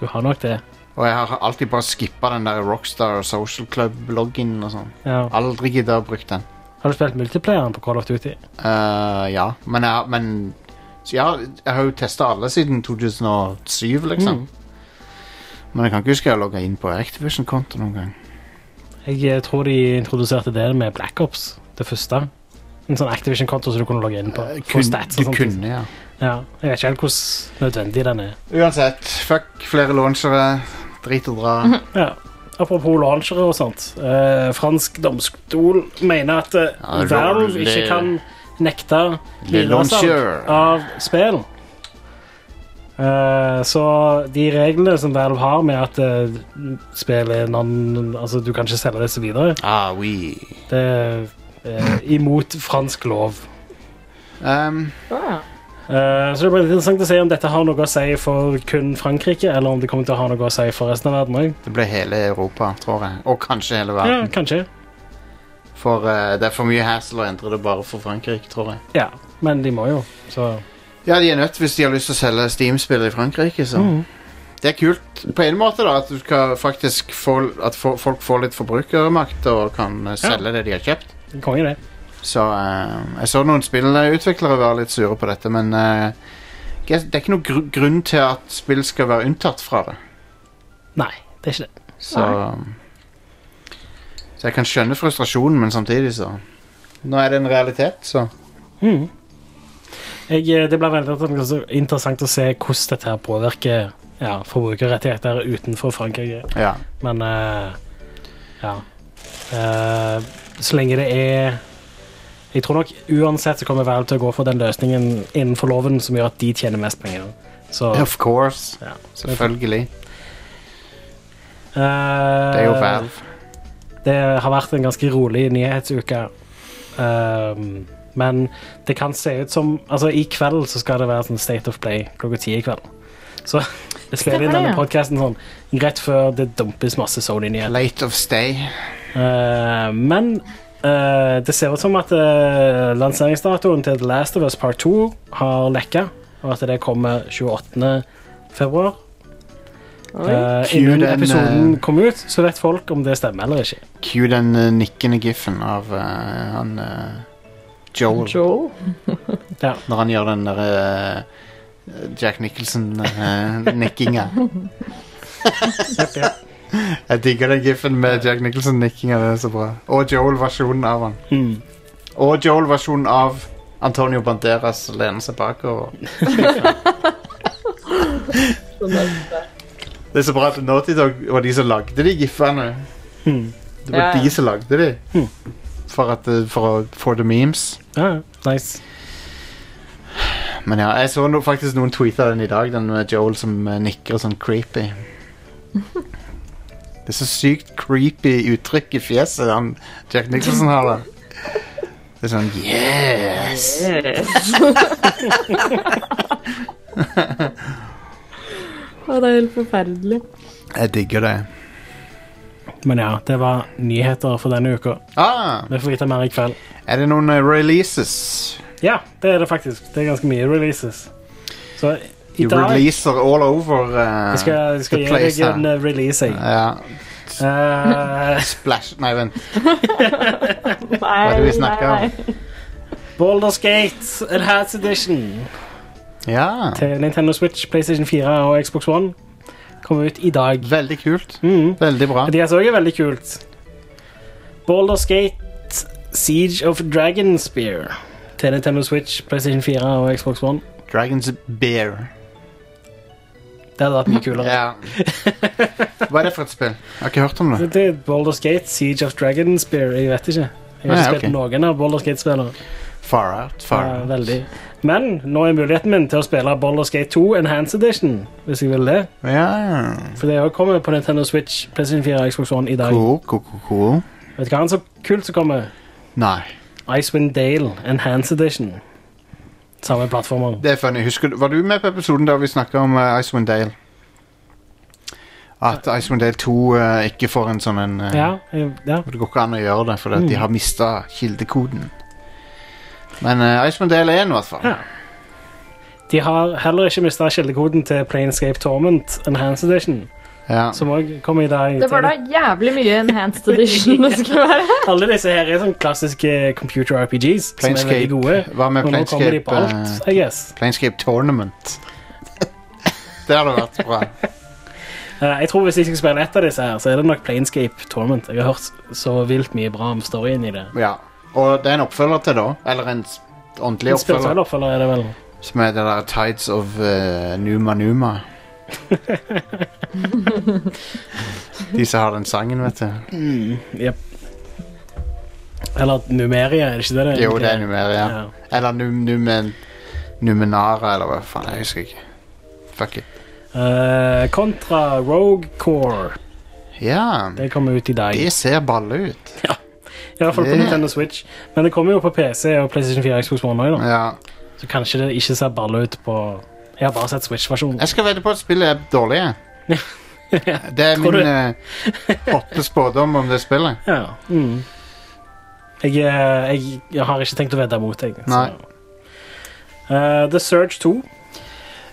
[SPEAKER 2] Du har nok det.
[SPEAKER 1] Og jeg har alltid bare skippa den der Rockstar og Social Club-loggen og sånn.
[SPEAKER 2] Ja.
[SPEAKER 1] Aldri gidda å bruke den.
[SPEAKER 2] Har du spilt multiplayeren på Call of Duty?
[SPEAKER 1] Eh, ja, men jeg, har- men så jeg, har- jeg har jo testa alle siden 2007, liksom.
[SPEAKER 2] Mm.
[SPEAKER 1] Men jeg kan ikke huske jeg har logga inn på Activision-konto noen gang.
[SPEAKER 2] Jeg eh, tror de introduserte det med Black Ops, det første. En sånn Activision-konto som du kunne logge inn på.
[SPEAKER 1] Eh,
[SPEAKER 2] for
[SPEAKER 1] kun-
[SPEAKER 2] stats
[SPEAKER 1] du
[SPEAKER 2] og sånt.
[SPEAKER 1] kunne, ja.
[SPEAKER 2] Ja, jeg vet ikke helt hvordan nødvendig den er.
[SPEAKER 1] Uansett, fuck flere launchere. Drit og dra.
[SPEAKER 2] Ja. Apropos launchere og sånt. Eh, fransk domstol mener at eh,
[SPEAKER 1] Ja, det er
[SPEAKER 2] Valve
[SPEAKER 1] lovlig.
[SPEAKER 2] ikke kan nekte
[SPEAKER 1] Le
[SPEAKER 2] videresalg
[SPEAKER 1] launcher.
[SPEAKER 2] av spill. Eh, så de reglene som Valve har med at eh, spill er non, altså du kan ikke selge disse videre,
[SPEAKER 1] Ah, oui.
[SPEAKER 2] det er eh, imot fransk lov.
[SPEAKER 1] Um,
[SPEAKER 3] Ah,
[SPEAKER 2] Eh, så det blir litt interessant å se om dette har noe å si for kun Frankrike, eller om det kommer til å ha noe å si for resten av verden òg.
[SPEAKER 1] det ble hele Europa, tror jeg. Og kanskje hele
[SPEAKER 2] Ja,
[SPEAKER 1] verden.
[SPEAKER 2] kanskje.
[SPEAKER 1] For eh, det er for mye hassle å endre det bare for Frankrike, tror jeg.
[SPEAKER 2] Ja, men de må jo, så
[SPEAKER 1] Ja, de er nødt hvis de har lyst til å selge Steam-spill i Frankrike, så
[SPEAKER 2] Mhm.
[SPEAKER 1] Det er kult på en måte, da, at, du skal faktisk få, at fo- folk får litt forbrukermakt og kan eh, selge det de har kjøpt.
[SPEAKER 2] Konge, det.
[SPEAKER 1] Så eh, jeg så noen spillutviklere være litt sure på dette, men eh, det er det er ikke noen gru grunn til at spill skal være unntatt fra det.
[SPEAKER 2] Nei, det er ikke det.
[SPEAKER 1] Så, så jeg kan skjønne frustrasjonen, men samtidig så Nå er det en realitet, så Mm.
[SPEAKER 2] Mhm. Jeg, eh, det blir veldig interessant å se hvordan dette her påvirker ja, forbrukerrettigheter utenfor Frankrike.
[SPEAKER 1] ja.
[SPEAKER 2] Men eh, ja. Eh, så lenge det er Jeg tror nok uansett så kommer Valve til å gå for den løsningen innenfor loven som gjør at de tjener mest penger. Så
[SPEAKER 1] Of course.
[SPEAKER 2] ja.
[SPEAKER 1] Selvfølgelig.
[SPEAKER 2] Det eh,
[SPEAKER 1] Det er jo Valve.
[SPEAKER 2] Det har vært en ganske rolig nyhetsuke. Ehm, men det kan se ut som Altså, i kveld så skal det være sånn State of Play klokka ti i kveld. Så jeg spiller
[SPEAKER 3] Stemmer
[SPEAKER 2] inn
[SPEAKER 3] det,
[SPEAKER 2] denne
[SPEAKER 3] ja.
[SPEAKER 2] podkasten sånn rett før det dumpes masse Sony-nyheter.
[SPEAKER 1] Late of stay.
[SPEAKER 2] Eh, men eh, det ser ut som at eh, lanseringsdatoen til The Last of Us Part 2 har lekka, og at det kommer 28. februar.
[SPEAKER 3] Oi.
[SPEAKER 2] Uh,
[SPEAKER 1] Cue
[SPEAKER 2] innen
[SPEAKER 1] den, eh,
[SPEAKER 2] episoden kom ut, så vet folk om det stemmer eller ikke.
[SPEAKER 1] Cue den eh, nikkende giffen av eh, han eh, Joel,
[SPEAKER 3] Joel.
[SPEAKER 1] når han gjør den der eh, Jack eh, Nicholson-nikkinga.
[SPEAKER 2] Jepp, jepp.
[SPEAKER 1] Jeg digger den giffen med Jack Nicholson-nikkinga. Den er så bra. Og Joel-versjonen av han.
[SPEAKER 2] Mm.
[SPEAKER 1] Og Joel-versjonen av Antonio Banderas lener seg bakover.
[SPEAKER 3] Sånn der.
[SPEAKER 1] Det er så bra at Naughty Dog var de som lagde de giffene.
[SPEAKER 2] Mm.
[SPEAKER 1] Det var
[SPEAKER 3] Ja, ja.
[SPEAKER 1] de som lagde de.
[SPEAKER 2] Hmm.
[SPEAKER 1] For, at, eh, for å få the memes.
[SPEAKER 2] Ja, ja. nice.
[SPEAKER 1] Men ja, jeg så no, faktisk noen tweeter den i dag, den med Joel som eh, nikker sånn creepy. Det er så sykt creepy uttrykk i fjeset han Jack Nicholson har da. Det er sånn Yes!
[SPEAKER 3] Å, det er helt forferdelig.
[SPEAKER 1] Jeg digger det.
[SPEAKER 2] Men ja, det var nyheter for denne uka.
[SPEAKER 1] Ah,
[SPEAKER 2] Vi får vite mer i kveld.
[SPEAKER 1] er det noen eh, releases?
[SPEAKER 2] Ja, det er det faktisk. Det er ganske mye releases. Så i
[SPEAKER 1] De
[SPEAKER 2] dag
[SPEAKER 1] releaser all over eh,
[SPEAKER 2] jeg skal jeg skal
[SPEAKER 1] the
[SPEAKER 2] gi deg
[SPEAKER 1] place
[SPEAKER 2] en
[SPEAKER 1] her.
[SPEAKER 2] eh, release, jeg.
[SPEAKER 1] Ja.
[SPEAKER 2] Eh,
[SPEAKER 1] Splash Nei, vent.
[SPEAKER 3] Nei,
[SPEAKER 1] Hva er det vi
[SPEAKER 3] nei,
[SPEAKER 1] snakker om?
[SPEAKER 3] nei.
[SPEAKER 2] Baldur's Gate Enhanced Edition
[SPEAKER 1] Ja.
[SPEAKER 2] til Nintendo Switch, PlayStation 4 og Xbox One kommer ut i dag.
[SPEAKER 1] Veldig kult.
[SPEAKER 2] Mhm.
[SPEAKER 1] Veldig bra.
[SPEAKER 2] Det er også veldig kult. Baldur's Gate Siege of Dragonspear til Nintendo Switch, PlayStation 4 og Xbox One.
[SPEAKER 1] Dragons Bear.
[SPEAKER 2] Det hadde vært mye kulere.
[SPEAKER 1] Ja. Hva er det for et spill? Jeg har ikke hørt om det.
[SPEAKER 2] Det er Baldur's Gate, Siege of Dragonspear, jeg vet ikke. Jeg har
[SPEAKER 1] Nei,
[SPEAKER 2] ikke spilt
[SPEAKER 1] Ah, ok.
[SPEAKER 2] noen av Baldur's Gate-spillene.
[SPEAKER 1] Far Out. Far
[SPEAKER 2] Eh,
[SPEAKER 1] out.
[SPEAKER 2] veldig. Men nå er muligheten min til å spille Baldur's Gate 2 Enhanced Edition, hvis jeg vil det.
[SPEAKER 1] Ja.
[SPEAKER 2] For det også kommer på Nintendo Switch, PlayStation 4 og Xbox One i dag.
[SPEAKER 1] Cool, cool, cool, cool.
[SPEAKER 2] Vet du hva annet så kult som kommer?
[SPEAKER 1] Nei.
[SPEAKER 2] Icewind Dale Enhanced Edition. Samme plattformer.
[SPEAKER 1] Det er funny. Husker du, var du med på episoden der vi snakka om eh, Icewind Dale? At Icewind Dale 2 eh, ikke får en sånn en eh,
[SPEAKER 2] Ja, jeg- ja.
[SPEAKER 1] Det går ikke an å gjøre det, fordi at
[SPEAKER 2] Mm.
[SPEAKER 1] de har mista kildekoden. Men eh, Icewind Dale 1, i hvert fall.
[SPEAKER 2] Ja. De har heller ikke mista kildekoden til Planescape Torment Enhanced Edition,
[SPEAKER 1] Ja.
[SPEAKER 2] som òg kommer i dag.
[SPEAKER 3] Det var da jævlig mye enhanced edition det skulle være.
[SPEAKER 2] Alle disse her er sånne klassiske computer RPGs som er veldig
[SPEAKER 1] Planescape.
[SPEAKER 2] gode.
[SPEAKER 1] Hva med
[SPEAKER 2] Og nå kommer de
[SPEAKER 1] Planescape,
[SPEAKER 2] på alt,
[SPEAKER 1] eh,
[SPEAKER 2] I guess.
[SPEAKER 1] Planescape Tournament? det hadde vært bra.
[SPEAKER 2] Eh, Jeg tror Hvis jeg skal spille et av disse, her, så er det nok Planescape Torment. Jeg har hørt så vilt mye bra om storyen i det.
[SPEAKER 1] Ja. Og det er en oppfølger til, da. Eller en s- ordentlig
[SPEAKER 2] En
[SPEAKER 1] oppfølger.
[SPEAKER 2] spirituell oppfølger er det vel.
[SPEAKER 1] Som er det der Tides of eh, Numa Numa. De som har den sangen, vet du. Mm.
[SPEAKER 2] Jep. Eller Numeria, er det ikke det? det
[SPEAKER 1] Jo, det er Numeria.
[SPEAKER 2] Ja.
[SPEAKER 1] Eller num, numen, Numenara, eller hva faen. Jeg husker ikke. Fuck it.
[SPEAKER 2] Eh, kontra Rogue Core.
[SPEAKER 1] Ja,
[SPEAKER 2] Det kommer ut i dag.
[SPEAKER 1] det ser balle ut.
[SPEAKER 2] I hvert fall på
[SPEAKER 1] Det-
[SPEAKER 2] Nintendo Switch. Men det kommer jo på PC og PlayStation 4 og Xbox One også, da.
[SPEAKER 1] Ja.
[SPEAKER 2] Så kanskje det ikke ser balle ut på Jeg har bare sett Switch-versjonen.
[SPEAKER 1] Jeg skal vedde på at spillet er dårlig. jeg. Det er
[SPEAKER 2] Tror
[SPEAKER 1] min
[SPEAKER 2] du?
[SPEAKER 1] uh, hotte spådom om det spillet.
[SPEAKER 2] Ja. Mm. Jeg, eh, jeg, jeg har ikke tenkt å vedde mot deg.
[SPEAKER 1] Nei.
[SPEAKER 2] så- Eh, The Surge 2.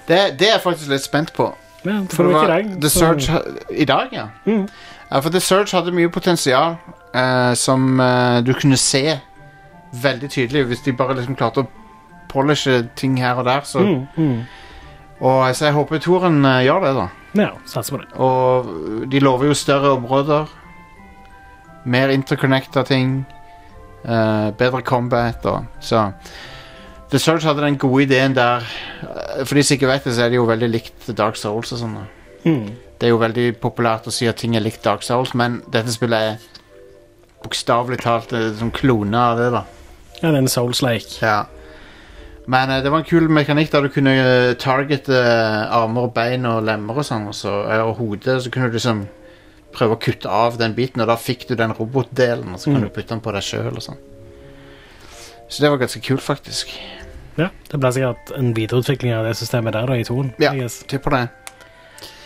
[SPEAKER 1] Det, det er jeg faktisk litt spent på.
[SPEAKER 2] Ja,
[SPEAKER 1] For det
[SPEAKER 2] får
[SPEAKER 1] var
[SPEAKER 2] ikke deg,
[SPEAKER 1] The
[SPEAKER 2] så-
[SPEAKER 1] Surge ha- I dag, ja.
[SPEAKER 2] Mhm.
[SPEAKER 1] ja. For The Surge hadde mye potensial eh, som eh, du kunne se veldig tydelig hvis de bare liksom klarte å polishe ting her og der. Så,
[SPEAKER 2] Mm, mm.
[SPEAKER 1] og, så jeg håper Toren eh, gjør det, da.
[SPEAKER 2] Ja, satser på det.
[SPEAKER 1] Og de lover jo større områder. Mer interconnecta ting. eh, bedre combat og så The Surge hadde den gode ideen der eh, For de som ikke vet det, så er det jo veldig likt Dark Souls og sånn. da.
[SPEAKER 2] Mm.
[SPEAKER 1] Det er jo veldig populært å si at ting er likt Dark Souls, men dette spillet er bokstavelig talt eh, som klone av det, da.
[SPEAKER 2] Ja, det er en souls-like.
[SPEAKER 1] Ja. Men eh, det var en kul mekanikk der du kunne eh, targete eh, armer og bein og lemmer og sånn, og, så, eh, og hodet. Så kunne du liksom prøve å kutte av den biten, og da fikk du den robotdelen, og så kan
[SPEAKER 2] Mm.
[SPEAKER 1] du putte den på deg sjøl og sånn. Så det var ganske kult, faktisk.
[SPEAKER 2] Ja, det ble sikkert en videreutvikling av det systemet der da, i toen.
[SPEAKER 1] Ja.
[SPEAKER 2] I guess.
[SPEAKER 1] Tipper det.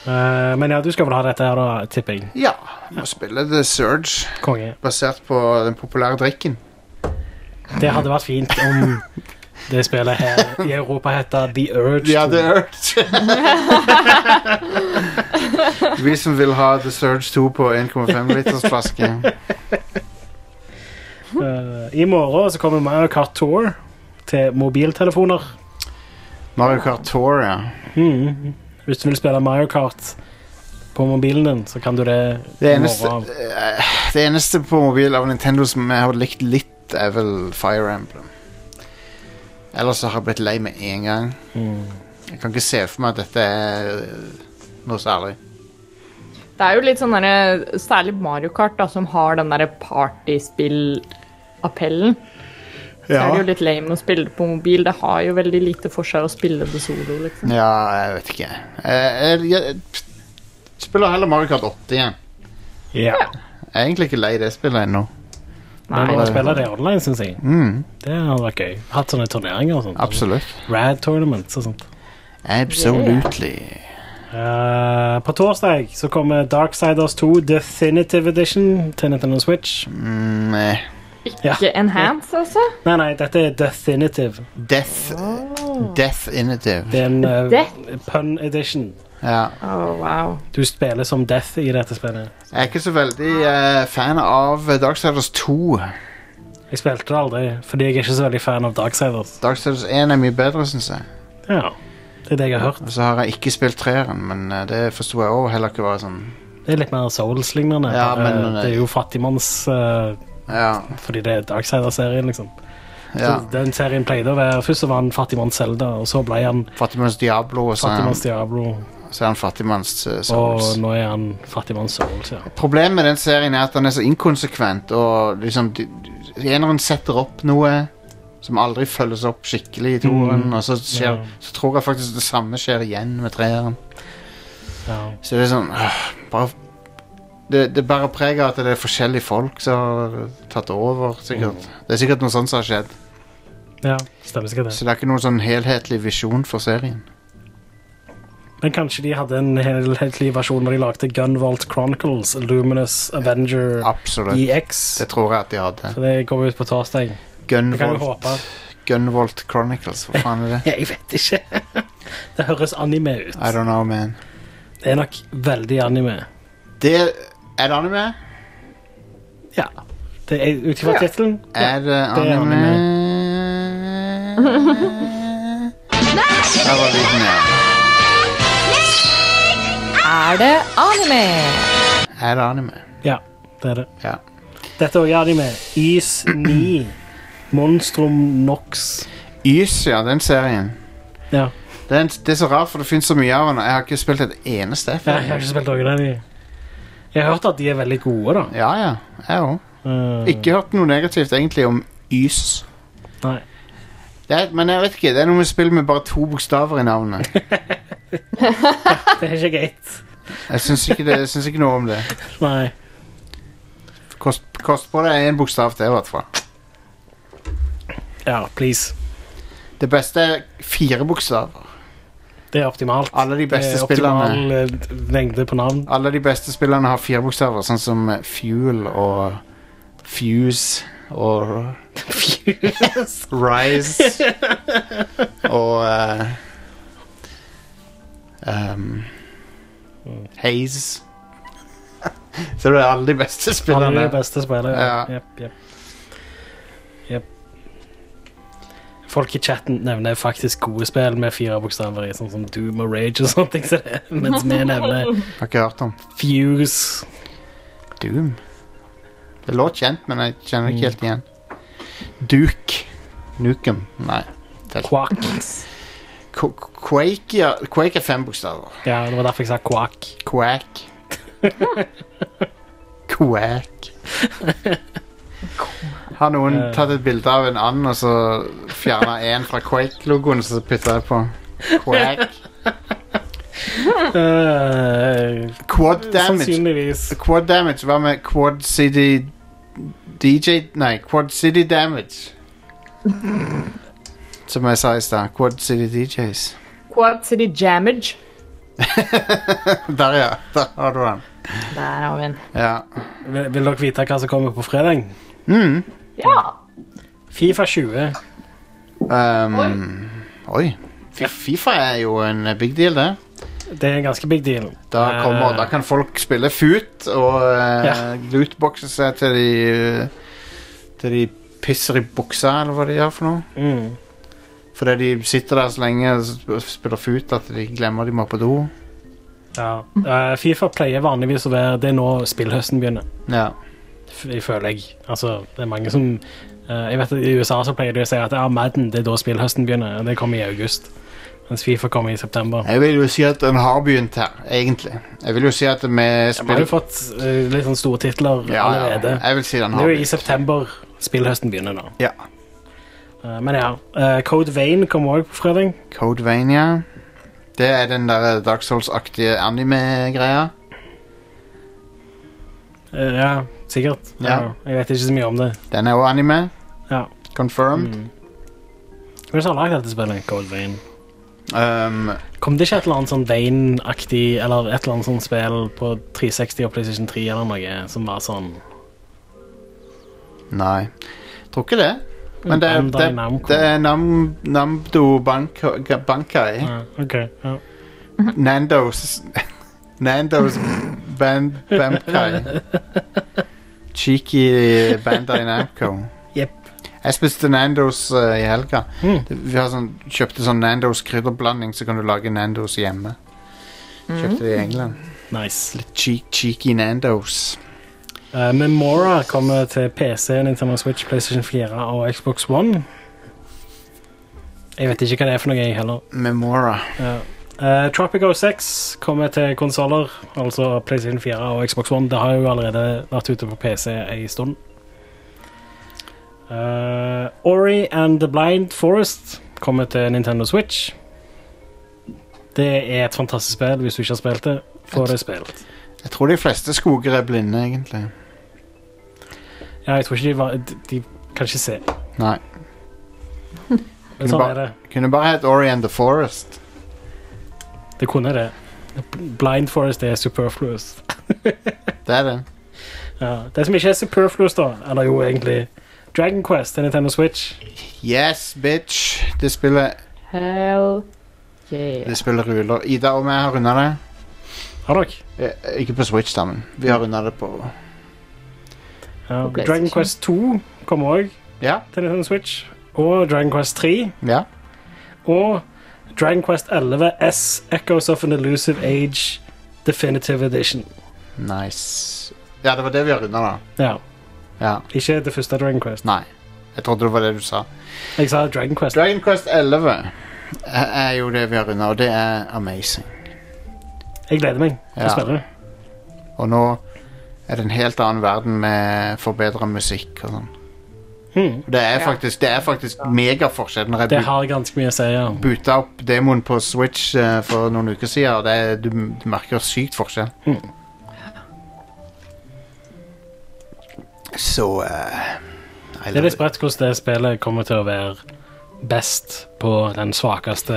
[SPEAKER 2] Eh, men ja, du skal vel ha dette her da, tipper jeg.
[SPEAKER 1] Ja. Må spille The Surge,
[SPEAKER 2] Konge.
[SPEAKER 1] basert på den populære drikken.
[SPEAKER 2] Det hadde vært fint om det spillet her i Europa heter The Urge.
[SPEAKER 1] Ja,
[SPEAKER 2] 2.
[SPEAKER 1] The Urge. Vi som vil ha The Surge 2 på 1,5 liters flaske.
[SPEAKER 2] Eh, I morgen så kommer Mario Kart Tour til mobiltelefoner.
[SPEAKER 1] Mario Kart Tour, ja.
[SPEAKER 2] Mhm. Hvis du vil spille Mario Kart på mobilen din, så kan du det,
[SPEAKER 1] Det
[SPEAKER 2] i
[SPEAKER 1] eneste,
[SPEAKER 2] morgen.
[SPEAKER 1] eh, det eneste på mobil av Nintendo som jeg har likt litt, er vel Fire Emblem. Ellers så har jeg blitt lei med en gang.
[SPEAKER 2] Mhm.
[SPEAKER 1] Jeg kan ikke se for meg at dette er eh, noe særlig.
[SPEAKER 3] Det er jo litt sånn derre Særlig Mario Kart, da, som har den derre partyspill-appellen. Så er det jo litt lame å spille det på mobil. Det har jo veldig lite for seg å spille det solo, liksom.
[SPEAKER 1] ja, jeg vet ikke. Eh, Jeg, jeg, spiller heller Mario Kart 8 igjen.
[SPEAKER 2] Ja.
[SPEAKER 1] Jeg er egentlig ikke lei det spillet ennå.
[SPEAKER 2] Men
[SPEAKER 3] Nei.
[SPEAKER 2] å spille det online, syns jeg.
[SPEAKER 1] Mm,
[SPEAKER 2] Det hadde vært gøy. Hatt sånne turneringer og sånt.
[SPEAKER 1] absolutt.
[SPEAKER 2] Rad tournaments og sånt.
[SPEAKER 1] Absolutely.
[SPEAKER 2] Eh, på torsdag så kommer Darksiders 2 Definitive Edition til Nintendo Switch.
[SPEAKER 1] Mm, eh,
[SPEAKER 2] Ja.
[SPEAKER 3] Ikke enhance, altså.
[SPEAKER 2] Nei, nei, dette er Definitive.
[SPEAKER 1] death
[SPEAKER 3] Oh.
[SPEAKER 1] Death Innitive.
[SPEAKER 2] Det er en eh,
[SPEAKER 3] Death?
[SPEAKER 2] pun edition.
[SPEAKER 1] Ja.
[SPEAKER 3] Oh, wow.
[SPEAKER 2] Du spiller som Death i dette spillet.
[SPEAKER 1] Jeg er ikke så veldig eh, fan av Darksiders 2.
[SPEAKER 2] Jeg spilte det aldri, fordi jeg er ikke så veldig fan av Darksiders.
[SPEAKER 1] Darksiders 1 er mye bedre, syns jeg.
[SPEAKER 2] Ja, det er det jeg har hørt.
[SPEAKER 1] Og så har jeg ikke spilt treeren, men eh, det forsto jeg òg heller ikke var sånn
[SPEAKER 2] Det er litt mer Souls-lignende.
[SPEAKER 1] Ja,
[SPEAKER 2] bare
[SPEAKER 1] men-
[SPEAKER 2] det er jo fattigmanns eh,
[SPEAKER 1] Ja.
[SPEAKER 2] Fordi det er Darksider-serien, liksom.
[SPEAKER 1] ja.
[SPEAKER 2] Så den serien pleide å være Først så var han fattigmanns Zelda, og så ble han
[SPEAKER 1] Fattigmanns Diablo, og så er han,
[SPEAKER 2] fattigmanns Diablo,
[SPEAKER 1] så er han fattigmanns eh, Souls.
[SPEAKER 2] og nå er han fattigmanns Souls, ja.
[SPEAKER 1] Problemet med den serien er at den er så inkonsekvent, og liksom de- de- Eneren setter opp noe som aldri følges opp skikkelig i toeren,
[SPEAKER 2] Mm.
[SPEAKER 1] og så skjer
[SPEAKER 2] Ja.
[SPEAKER 1] Så tror jeg faktisk det samme skjer igjen med treeren.
[SPEAKER 2] ja.
[SPEAKER 1] Så det er sånn øh, Bare det, det bærer preg av at det er forskjellige folk som har tatt over, sikkert.
[SPEAKER 2] Mm.
[SPEAKER 1] Det er sikkert noe sånt som har skjedd.
[SPEAKER 2] ja stemmer sikkert det.
[SPEAKER 1] Så det er ikke noen sånn helhetlig visjon for serien.
[SPEAKER 2] Men kanskje de hadde en helhetlig versjon når de lagde Gunvolt Chronicles, Luminous Avenger
[SPEAKER 1] Absolutt.
[SPEAKER 2] EX.
[SPEAKER 1] Det tror jeg at de hadde.
[SPEAKER 2] Så det går ut på torsdag. Det kan vi
[SPEAKER 1] Gunvolt,
[SPEAKER 2] håpe.
[SPEAKER 1] Gunvolt Chronicles, hva faen er det?
[SPEAKER 2] Jeg vet ikke. Det høres anime ut.
[SPEAKER 1] I don't know, man.
[SPEAKER 2] Det er nok veldig anime.
[SPEAKER 1] Det er det anime?
[SPEAKER 2] Ja. Det er ut ifra tittelen.
[SPEAKER 1] Er det
[SPEAKER 2] det er
[SPEAKER 1] anime? Der var lyden, ja.
[SPEAKER 3] Er det anime?
[SPEAKER 1] Er det anime?
[SPEAKER 2] Ja, det er det.
[SPEAKER 1] Ja.
[SPEAKER 2] Dette òg er anime. Is 9. Monstrum Nox.
[SPEAKER 1] Ys, ja, den serien.
[SPEAKER 2] Ja.
[SPEAKER 1] Det er, en, det er så rart, for det finnes så mye av den, og jeg har ikke spilt et eneste F.
[SPEAKER 2] Jeg har ikke spilt noen av de. Jeg har hørt at de er veldig gode, da.
[SPEAKER 1] Ja, ja, jeg òg.
[SPEAKER 2] Eh,
[SPEAKER 1] Ikke hørt noe negativt egentlig om Ys.
[SPEAKER 2] Nei.
[SPEAKER 1] Det er, men jeg vet ikke, det er noe med spill med bare to bokstaver i navnet.
[SPEAKER 2] Det er ikke greit.
[SPEAKER 1] Jeg syns ikke, det- jeg syns ikke noe om det.
[SPEAKER 2] Nei.
[SPEAKER 1] Kost, kost på deg én bokstav til, i hvert fall.
[SPEAKER 2] Ja, please.
[SPEAKER 1] Det beste er fire bokstaver.
[SPEAKER 2] Det er optimalt.
[SPEAKER 1] Alle de beste
[SPEAKER 2] det er
[SPEAKER 1] spillerne
[SPEAKER 2] optimal eh, lengde på navn.
[SPEAKER 1] Alle de beste spillerne har fire bokstaver, sånn som eh, Fuel og Fuse og
[SPEAKER 2] Fuse.
[SPEAKER 1] Rise og eh, ehm,
[SPEAKER 2] Mm.
[SPEAKER 1] Haze. Så det er alle de beste
[SPEAKER 2] Han er
[SPEAKER 1] spillerne.
[SPEAKER 2] de beste spillere.
[SPEAKER 1] Ja.
[SPEAKER 2] Jep, jep. Jep. Folk i chatten nevner faktisk gode spill med fire bokstaver i, sånn som Doom og Rage og sånne ting, så det, mens vi nevner
[SPEAKER 1] Har ikke hørt om
[SPEAKER 2] Fuse.
[SPEAKER 1] Doom. Det lå kjent, men jeg kjenner ikke helt igjen. Duke. Nukem. Nei.
[SPEAKER 2] Quack.
[SPEAKER 1] Qu- Quake, ja. Quake er fem bokstaver.
[SPEAKER 2] Ja, det var derfor jeg sa quack.
[SPEAKER 1] Quack. Quack. Har noen
[SPEAKER 2] Eh.
[SPEAKER 1] tatt et bilde av en and og så fjerna én fra Quake-logoen og så putta jeg på Quack?
[SPEAKER 2] Eh,
[SPEAKER 1] Quad damage.
[SPEAKER 2] sannsynligvis.
[SPEAKER 1] Quad damage. Hva med Quad City DJ Nei, Quad City Damage. Som jeg sa i stad. Quad City DJs.
[SPEAKER 3] Quad City Jammage.
[SPEAKER 1] Der, ja. Der har du den.
[SPEAKER 3] Der har vi den.
[SPEAKER 1] Ja.
[SPEAKER 2] Vil, vil dere vite hva som kommer på fredag?
[SPEAKER 1] Mm.
[SPEAKER 3] Ja.
[SPEAKER 2] Fifa 20.
[SPEAKER 1] Um, oi. Fi- Fifa er jo en big deal, det.
[SPEAKER 2] Det er en ganske big deal.
[SPEAKER 1] Da, kommer,
[SPEAKER 2] Eh,
[SPEAKER 1] da kan folk spille FUT og eh,
[SPEAKER 2] Ja.
[SPEAKER 1] lootboxe seg til de eh, Til de pisser i buksa, eller hva de gjør for noe.
[SPEAKER 2] mm.
[SPEAKER 1] Fordi de sitter der så lenge og sp- spiller FUT at de glemmer de må på do.
[SPEAKER 2] Ja. Eh, Fifa pleier vanligvis å være Det er nå spillhøsten begynner,
[SPEAKER 1] Ja.
[SPEAKER 2] f- jeg føler jeg. Altså, det er mange som eh, Jeg vet at I USA så pleier de å si at ja, Madden, det er da spillhøsten begynner. og Det kommer i august. Mens Fifa kommer i september.
[SPEAKER 1] Jeg vil jo si at den har begynt her, egentlig. Jeg vil jo si at vi
[SPEAKER 2] Vi har
[SPEAKER 1] spiller
[SPEAKER 2] jo fått eh, litt sånne store titler
[SPEAKER 1] ja, ja.
[SPEAKER 2] allerede.
[SPEAKER 1] Jeg vil si den
[SPEAKER 2] Det
[SPEAKER 1] har
[SPEAKER 2] er jo i
[SPEAKER 1] begynt.
[SPEAKER 2] september spillhøsten begynner nå.
[SPEAKER 1] Ja.
[SPEAKER 2] Eh, men ja. eh, Code Vein kommer òg på fredag.
[SPEAKER 1] Codevania. Det er den der Dark Souls-aktige anime-greia.
[SPEAKER 2] Eh, ja, sikkert.
[SPEAKER 1] Ja.
[SPEAKER 2] Jeg vet ikke så mye om det.
[SPEAKER 1] Den er jo anime.
[SPEAKER 2] Ja.
[SPEAKER 1] Confirmed.
[SPEAKER 2] Hvem er det som har lagd dette spillet? Code Vein. Mm.
[SPEAKER 1] Um,
[SPEAKER 2] Kom det ikke et eller annet sånn Vein-aktig eller et eller annet sånt spill på 360 og PlayStation 3 eller noe som var sånn
[SPEAKER 1] Nei. Tror ikke det. Men det er,
[SPEAKER 2] Mm, Bandai
[SPEAKER 1] det,
[SPEAKER 2] Namco.
[SPEAKER 1] det er Nam, Namdo Banko- Ga- Bankai.
[SPEAKER 2] ja, OK. Ja.
[SPEAKER 1] Nandos Nandos Ban, Bankai. Cheeky Bandai Namco.
[SPEAKER 2] Jep.
[SPEAKER 1] Jeg spiste Nandos eh, i helga.
[SPEAKER 2] Mm.
[SPEAKER 1] Det- Vi har sånn, kjøpte sånn Nandos krydderblanding, så kan du lage Nandos hjemme. Kjøpte det i England.
[SPEAKER 2] Nice.
[SPEAKER 1] Litt cheek, cheeky Nandos.
[SPEAKER 2] Eh, Memora kommer til PC, Nintendo Switch, PlayStation 4 og Xbox One. Jeg vet ikke hva det er for noe, jeg heller.
[SPEAKER 1] Memora.
[SPEAKER 2] Ja. Eh, Tropico 6 kommer til konsoller, altså PlayStation 4 og Xbox One. Det har jo allerede vært ute på PC en stund. Eh, Ori and the Blind Forest kommer til Nintendo Switch. Det er et fantastisk spill. Hvis du ikke har spilt det, får det spilt.
[SPEAKER 1] Jeg tror de fleste skoger er blinde, egentlig.
[SPEAKER 2] Ja, jeg tror ikke de var De, de kan ikke se.
[SPEAKER 1] Nei.
[SPEAKER 2] Men sånn er det.
[SPEAKER 1] Kunne bare hett Ori and the Forest.
[SPEAKER 2] Det kunne det. Blind Forest er superfluous.
[SPEAKER 1] Det er det.
[SPEAKER 2] Ja. Det som ikke er superfluous, da, eller jo egentlig Dragon Quest til Nintendo Switch.
[SPEAKER 1] Yes, bitch. Det spiller,
[SPEAKER 3] Hell yeah.
[SPEAKER 1] det spiller ruler. Ida og jeg har runda det.
[SPEAKER 2] Har dere?
[SPEAKER 1] Eh, Ikke på Switch, da, men vi har runda det på
[SPEAKER 2] Ja.
[SPEAKER 3] På PlayStation.
[SPEAKER 2] Dragon Quest 2 kommer òg
[SPEAKER 1] Ja.
[SPEAKER 2] til Nintendo Switch. Og Dragon Quest 3.
[SPEAKER 1] ja.
[SPEAKER 2] Og Dragon Quest 11 S Echoes of an Elusive Age Definitive Edition.
[SPEAKER 1] Nice. Ja, det var det vi har runda, da.
[SPEAKER 2] Ja,
[SPEAKER 1] Ja.
[SPEAKER 2] Ikke det første Dragon Quest.
[SPEAKER 1] Nei. Jeg trodde det var det du sa.
[SPEAKER 2] Jeg sa Dragon Quest.
[SPEAKER 1] Dragon Quest 11 er er jo det vi har runda, og det er amazing.
[SPEAKER 2] Jeg gleder meg til
[SPEAKER 1] Ja.
[SPEAKER 2] å spille det.
[SPEAKER 1] Og nå er det en helt annen verden med forbedra musikk og sånn.
[SPEAKER 2] Hmm.
[SPEAKER 1] Det er
[SPEAKER 3] Ja.
[SPEAKER 1] faktisk, det er faktisk megaforskjell. Når jeg
[SPEAKER 2] Det
[SPEAKER 1] bu-
[SPEAKER 2] har ganske mye å si, ja.
[SPEAKER 1] boota opp demoen på Switch eh, for noen uker siden, og det, er- du, du merker sykt forskjell.
[SPEAKER 2] Mm.
[SPEAKER 1] Så eh, I
[SPEAKER 2] Det er
[SPEAKER 1] love
[SPEAKER 2] litt
[SPEAKER 1] it.
[SPEAKER 2] sprøtt hvordan det spillet kommer til å være best på den svakeste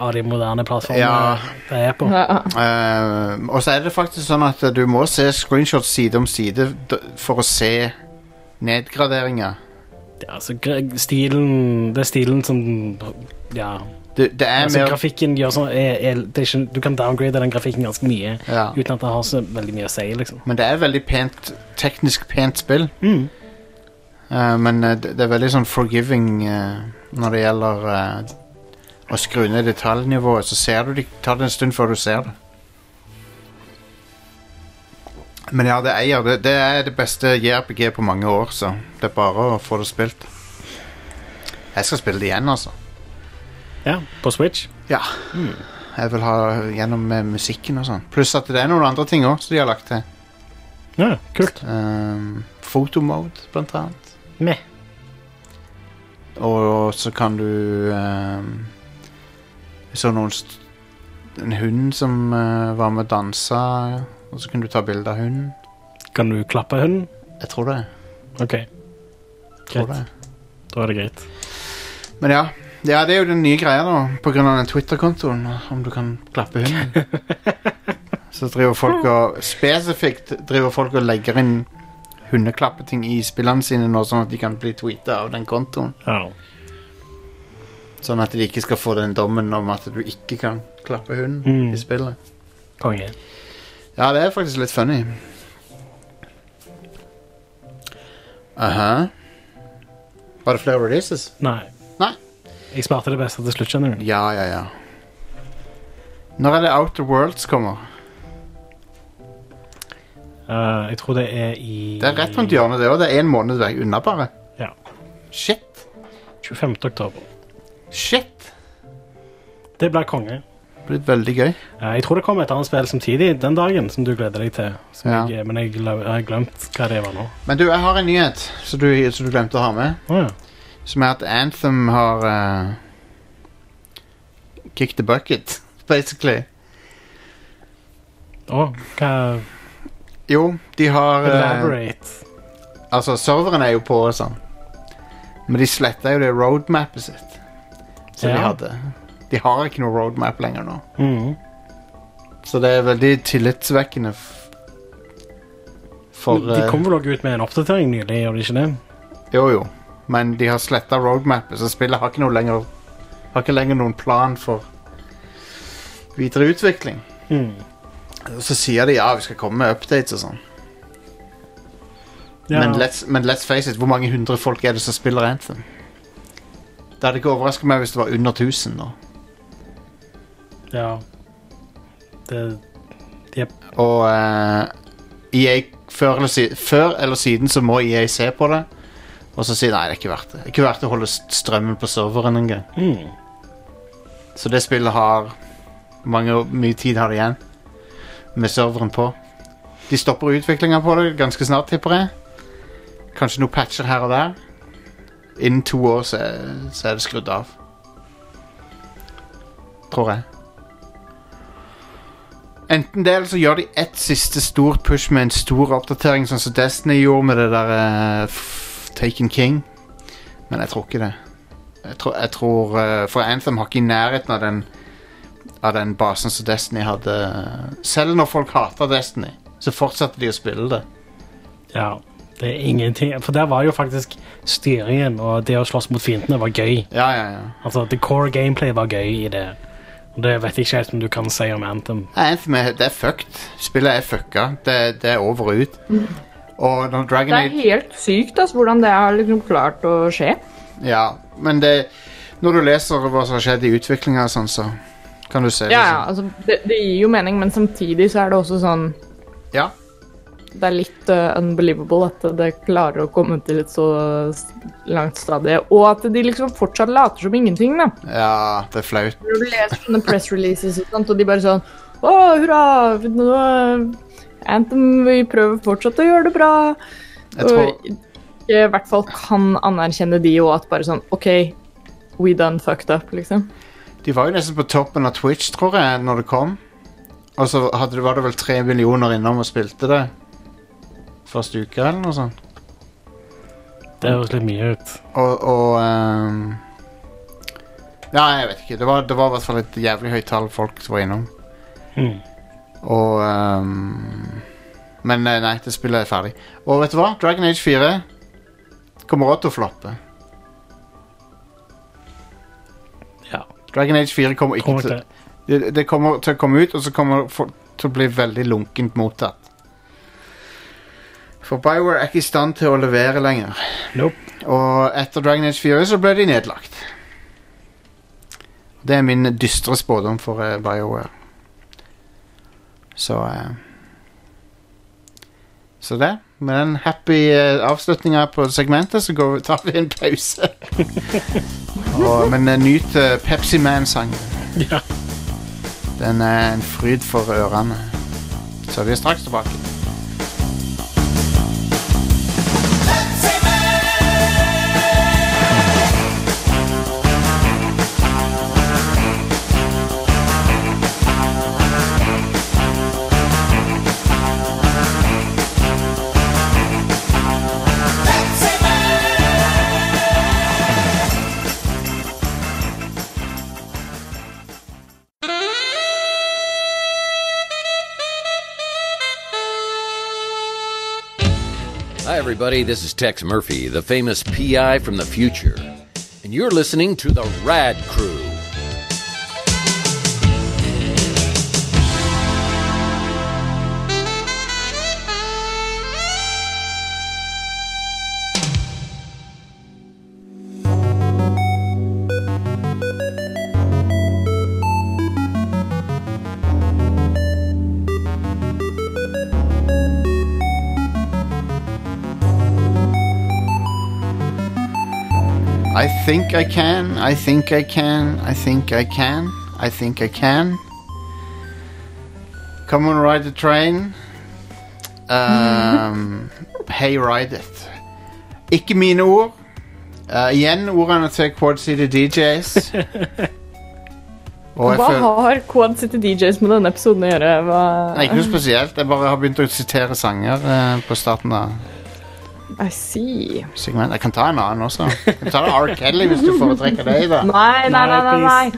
[SPEAKER 2] av de moderne plattformene
[SPEAKER 1] Ja.
[SPEAKER 2] det er på.
[SPEAKER 3] Ja.
[SPEAKER 1] Eh, og så er det faktisk sånn at du må se screenshots side om side d- for å se nedgraderinger.
[SPEAKER 2] Ja, altså, gre- stilen Det er stilen som Ja,
[SPEAKER 1] Det, det er
[SPEAKER 2] Altså,
[SPEAKER 1] mer
[SPEAKER 2] grafikken gjør sånn er, er, det er ikke, Du kan downgrade den grafikken ganske mye
[SPEAKER 1] ja.
[SPEAKER 2] uten at det har så veldig mye å si, liksom.
[SPEAKER 1] Men det er veldig pent, teknisk pent spill.
[SPEAKER 2] Mm.
[SPEAKER 1] Eh, men eh, det, det er veldig sånn forgiving eh, når det gjelder eh, å skru ned detaljnivået. Så ser du det, tar det en stund før du ser det. Men ja, det eier det. Det er det beste JRPG på mange år, så det er bare å få det spilt. Jeg skal spille det igjen, altså.
[SPEAKER 2] Ja, på Switch.
[SPEAKER 1] Ja. Jeg vil ha gjennom eh, musikken og sånn. Pluss at det er noen andre ting òg som de har lagt til.
[SPEAKER 2] Ja, kult.
[SPEAKER 1] Um, Fotomode, blant annet.
[SPEAKER 2] Meh.
[SPEAKER 1] Og så kan du ehm, Så noen st En hund som eh, var med og dansa, og så kunne du ta bilde av hunden.
[SPEAKER 2] Kan du klappe hunden?
[SPEAKER 1] Jeg tror det.
[SPEAKER 2] OK,
[SPEAKER 1] Tror
[SPEAKER 2] Greit.
[SPEAKER 1] det.
[SPEAKER 2] da er det greit.
[SPEAKER 1] Men ja. ja, det er jo den nye greia nå, på grunn av den Twitter-kontoen, om du kan klappe hunden. så driver folk og Spesifikt driver folk og legger inn hundeklappeting i spillene sine nå, sånn at de kan bli tweeta av den kontoen.
[SPEAKER 2] Ja.
[SPEAKER 1] Sånn at de ikke skal få den dommen om at du ikke kan klappe hunden
[SPEAKER 2] Mm.
[SPEAKER 1] i spillet.
[SPEAKER 2] Konge.
[SPEAKER 1] Ja, det er faktisk litt funny. Aha. Var det flere releases?
[SPEAKER 2] Nei.
[SPEAKER 1] Nei.
[SPEAKER 2] Jeg sparte det beste til slutt, skjønner du.
[SPEAKER 1] Ja, ja, ja. Når er det Outer Worlds kommer?
[SPEAKER 2] Eh, jeg tror det er i
[SPEAKER 1] Det er rett rundt hjørnet, det òg. Det er én måned vei unna, bare.
[SPEAKER 2] Ja.
[SPEAKER 1] Shit.
[SPEAKER 2] 25. oktober.
[SPEAKER 1] Shit.
[SPEAKER 2] Det blir konge.
[SPEAKER 1] Det blir veldig gøy.
[SPEAKER 2] Eh, jeg tror det kommer et annet spill samtidig den dagen som du gleder deg til. Som
[SPEAKER 1] Ja.
[SPEAKER 2] jeg, men jeg glem- jeg har glemt hva det var nå.
[SPEAKER 1] Men du, jeg har en nyhet som du, som du glemte å ha med.
[SPEAKER 2] Å ja.
[SPEAKER 1] Som er at Anthem har eh, Kick the bucket, basically.
[SPEAKER 2] Å, hva
[SPEAKER 1] Jo, de har eh,
[SPEAKER 2] Elaborate.
[SPEAKER 1] Altså, serveren er jo på og sånn. Men de sletta jo det roadmapet sitt. Som de
[SPEAKER 2] Ja.
[SPEAKER 1] hadde. De har ikke noe roadmap lenger nå.
[SPEAKER 2] Mhm.
[SPEAKER 1] Så det er veldig tillitsvekkende f for
[SPEAKER 2] Men de
[SPEAKER 1] eh,
[SPEAKER 2] kom vel også ut med en oppdatering nylig, gjør de ikke det?
[SPEAKER 1] Jo, jo. Men de har sletta roadmapet, så spillet har ikke noe lenger Har ikke lenger noen plan for videre utvikling.
[SPEAKER 2] Hmm.
[SPEAKER 1] Og så sier de ja, vi skal komme med updates og sånn.
[SPEAKER 2] Ja.
[SPEAKER 1] Men, let's, men let's face it, hvor mange hundre folk er det som spiller Anthem? Det hadde ikke overraska meg hvis det var under 1000 nå.
[SPEAKER 2] ja. Det,
[SPEAKER 1] Og eh, EA før eller, si før eller siden så må EA se på det. Og så si nei, det er ikke verdt det. Det er ikke verdt å holde st- strømmen på serveren engang.
[SPEAKER 2] mm.
[SPEAKER 1] Så det spillet har hvor mange, mye tid har det igjen med serveren på. De stopper utviklinga på det ganske snart, tipper jeg. Kanskje noen patcher her og der. Innen to år så er, så er det skrudd av. Tror jeg. Enten det, eller så gjør de ett siste stort push med en stor oppdatering, sånn som Destiny gjorde med det der eh, f- Taken King. Men jeg tror ikke det. Jeg tror, jeg tror eh, For Anthem har ikke i nærheten av den Av den basen som Destiny hadde. Selv når folk hater Destiny, så fortsatte de å spille det.
[SPEAKER 2] ja. Det er ingenting. For der var jo faktisk styringen og det å slåss mot fiendene var gøy.
[SPEAKER 1] Ja, ja, ja.
[SPEAKER 2] Altså, the core gameplay var gøy i det. Og det vet jeg ikke helt om du kan si om Anthem.
[SPEAKER 1] Nei, Anthem er, det er fucked. Spillet er fucka. Det, det er over og ut. Og når Dragon
[SPEAKER 3] Mm. Det er
[SPEAKER 1] Age
[SPEAKER 3] helt sykt altså, hvordan det har liksom klart å skje.
[SPEAKER 1] Ja, men det Når du leser hva som har skjedd i utviklinga og sånn, så kan du se sånn.
[SPEAKER 3] Ja, ja, altså, det, det gir jo mening, men samtidig så er det også sånn
[SPEAKER 1] liksom. ja.
[SPEAKER 3] Det er litt eh, unbelievable at det klarer å komme til et så s- langt stadie. Og at de liksom fortsatt later som ingenting, da.
[SPEAKER 1] Ja, det er flaut.
[SPEAKER 3] Når du leser sånne press releases og sånt, og de bare sånn Å, hurra! Nå, eh, Anthem, vi prøver fortsatt å gjøre det bra.
[SPEAKER 1] Jeg tror
[SPEAKER 3] Og jeg i hvert fall kan anerkjenne de òg, at bare sånn OK, we done fucked up, liksom.
[SPEAKER 1] De var jo nesten på toppen av Twitch, tror jeg, når det kom. Og så hadde, det- var det vel tre millioner innom og spilte det første uke, eller noe sånt.
[SPEAKER 2] Det høres litt mye ut.
[SPEAKER 1] Og, og ehm, Ja, jeg vet ikke. Det var, det var i hvert fall et jævlig høyt tall folk som var innom.
[SPEAKER 2] Mm.
[SPEAKER 1] Og ehm, Men eh, nei, det spillet er ferdig. Og vet du hva? Dragon Age 4 kommer også til å floppe.
[SPEAKER 2] Ja.
[SPEAKER 1] Dragon Age 4 kommer ikke
[SPEAKER 2] Tror nok
[SPEAKER 1] til
[SPEAKER 2] det.
[SPEAKER 1] det, det kommer til å komme ut, og så kommer det for- til å bli veldig lunkent mottatt. For Bioware er ikke i stand til å levere lenger.
[SPEAKER 2] Nope.
[SPEAKER 1] Og etter Dragon Age 4 så ble de nedlagt. Det er min dystre spådom for eh, Bioware. Så eh, Så det. Med den happy uh, avslutninga på segmentet, så går vi, tar vi en pause. og, men eh, nyt eh, Pepsi Man-sangen.
[SPEAKER 2] Ja.
[SPEAKER 1] Den er en fryd for ørene. Så vi er straks tilbake.
[SPEAKER 5] Hi, everybody. This is Tex Murphy, the famous PI from the future. And you're listening to the Rad Crew.
[SPEAKER 1] I think I can, I think I can, I think I can, I think I can. Come on, ride the train. Um, hey, ride it. Ikke mine ord. Eh, igjen ordene til Quad City DJs. Og jeg
[SPEAKER 3] Hva
[SPEAKER 1] føler-
[SPEAKER 3] har Quad City DJs med denne episoden å gjøre? Hva...
[SPEAKER 1] Nei, ikke noe spesielt. Jeg bare har begynt å sitere sanger eh, på starten av
[SPEAKER 3] I see.
[SPEAKER 1] segment. Jeg kan ta en annen også. Jeg kan ta R. Kelly hvis du foretrekker det. da.
[SPEAKER 3] Nei, nei, nei, nei.
[SPEAKER 2] Nei,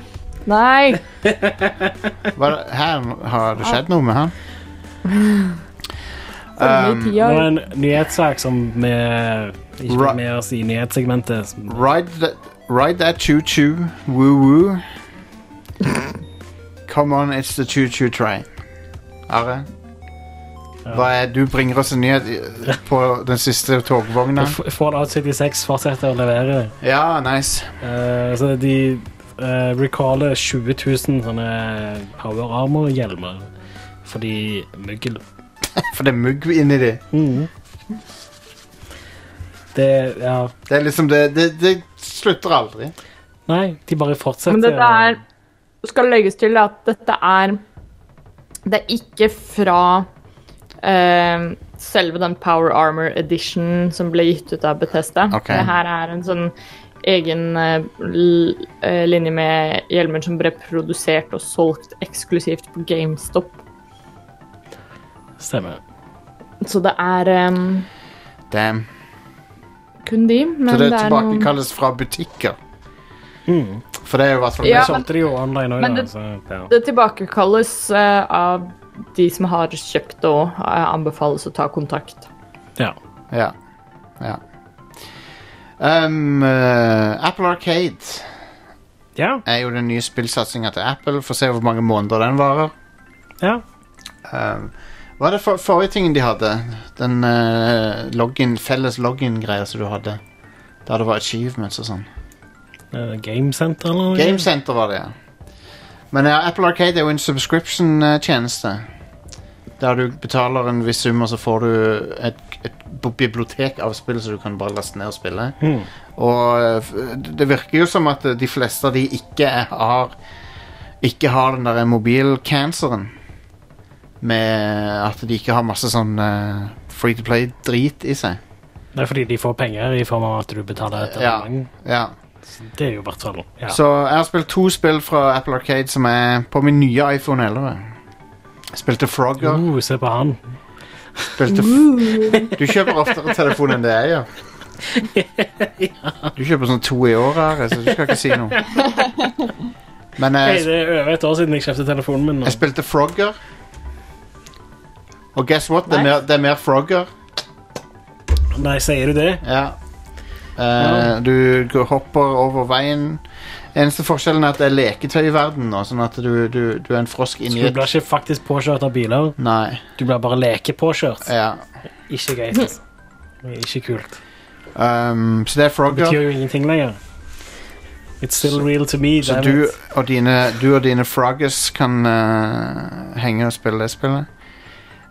[SPEAKER 3] Nei. nei.
[SPEAKER 1] Hva, her har det skjedd noe med han.
[SPEAKER 3] Forrige
[SPEAKER 1] Um,
[SPEAKER 3] tida.
[SPEAKER 2] Det var en nyhetssak som vi ikke
[SPEAKER 1] Ra-
[SPEAKER 2] fikk med oss i nyhetssegmentet. som-
[SPEAKER 1] Ride, that- ride that choo-choo, woo-woo. Come on, it's the choo-choo train. Are? Hva er, du bringer oss en nyhet i- på den siste togvogna.
[SPEAKER 2] F- Fallout 76 fortsetter å levere.
[SPEAKER 1] Ja, nice.
[SPEAKER 2] Eh, så de eh, recaller 20 000 sånne power armor-hjelmer fordi muggel.
[SPEAKER 1] For det er mugg inni de.
[SPEAKER 2] Det Ja.
[SPEAKER 1] Det er liksom det, det, det slutter aldri.
[SPEAKER 2] Nei, de bare fortsetter.
[SPEAKER 3] Men dette
[SPEAKER 2] å-
[SPEAKER 3] er Skal legges til at dette er Det er ikke fra eh, selve den Power Armor Edition som ble gitt ut av Bethesda.
[SPEAKER 1] Ok.
[SPEAKER 3] Det her er en sånn egen eh, l- eh, linje med hjelmer som ble produsert og solgt eksklusivt på GameStop.
[SPEAKER 2] Stemmer.
[SPEAKER 3] Så det er eh,
[SPEAKER 1] Damn.
[SPEAKER 3] kun de, men
[SPEAKER 1] Så
[SPEAKER 3] det
[SPEAKER 1] det
[SPEAKER 3] er noen
[SPEAKER 1] tilbakekalles fra butikker. For det er jo i hvert fall
[SPEAKER 3] Ja,
[SPEAKER 2] Jeg
[SPEAKER 1] det som-
[SPEAKER 2] solgte de jo online òg,
[SPEAKER 3] men
[SPEAKER 2] da.
[SPEAKER 3] det-
[SPEAKER 2] Så, ja.
[SPEAKER 3] Det tilbakekalles eh, av de som har kjøpt det og eh, anbefales å ta kontakt.
[SPEAKER 2] ja.
[SPEAKER 1] Ja. ja. Um, eh, Apple Arcade
[SPEAKER 2] Ja.
[SPEAKER 1] er jo den nye spillsatsinga til Apple. Får se hvor mange måneder den varer.
[SPEAKER 2] ja.
[SPEAKER 1] Um, hva er det for, forrige tingen de hadde? Den eh, login, felles login-greia som du hadde? Der det var achievements og sånn.
[SPEAKER 2] Eh, Game Center eller noe?
[SPEAKER 1] Game Center var det, ja. Men ja, Apple Arcade er jo en subscription-tjeneste. Der du betaler en viss sum, og så får du et, et bibliotek av spill som du kan bare laste ned og spille.
[SPEAKER 2] Mhm.
[SPEAKER 1] Og eh, f- det virker jo som at eh, de fleste av de ikke er- har Ikke har den der mobilcanceren. Med at de ikke har masse sånn eh, free to play-drit i seg.
[SPEAKER 2] Det er fordi de får penger i form av at du betaler et
[SPEAKER 1] Ja.
[SPEAKER 2] abonnement.
[SPEAKER 1] Ja.
[SPEAKER 2] Det er jo i hvert fall ja.
[SPEAKER 1] Så jeg har spilt to spill fra Apple Arcade som er på min nye iPhone 11. Jeg spilte Frogger.
[SPEAKER 2] Uh, se på han.
[SPEAKER 1] Spilte f du kjøper oftere telefon enn det jeg gjør. Du kjøper sånn to i året, Are, så du skal ikke si noe. Men
[SPEAKER 2] Hei,
[SPEAKER 1] jeg,
[SPEAKER 2] det er over et år siden jeg kjøpte telefonen min. nå.
[SPEAKER 1] jeg spilte Frogger. Og guess what? Det er
[SPEAKER 3] Nice.
[SPEAKER 1] mer, det er mer Frogger.
[SPEAKER 2] Nei, sier du det?
[SPEAKER 1] Ja. Eh, Du går- hopper over veien. Eneste forskjellen er at det er leketøyverden nå, sånn at du, du, du er en frosk
[SPEAKER 2] Så
[SPEAKER 1] inni
[SPEAKER 2] du blir ikke faktisk påkjørt av biler.
[SPEAKER 1] Nei.
[SPEAKER 2] Du blir bare lekepåkjørt.
[SPEAKER 1] Ja.
[SPEAKER 2] Ikke greit. Ikke kult.
[SPEAKER 1] Um, så det er
[SPEAKER 2] Det betyr
[SPEAKER 1] Frogger.
[SPEAKER 2] jo ingenting lenger. It's still real to me.
[SPEAKER 1] Så
[SPEAKER 2] damn
[SPEAKER 1] du
[SPEAKER 2] it.
[SPEAKER 1] og dine, du og dine Froggers kan eh, henge og spille det spillet.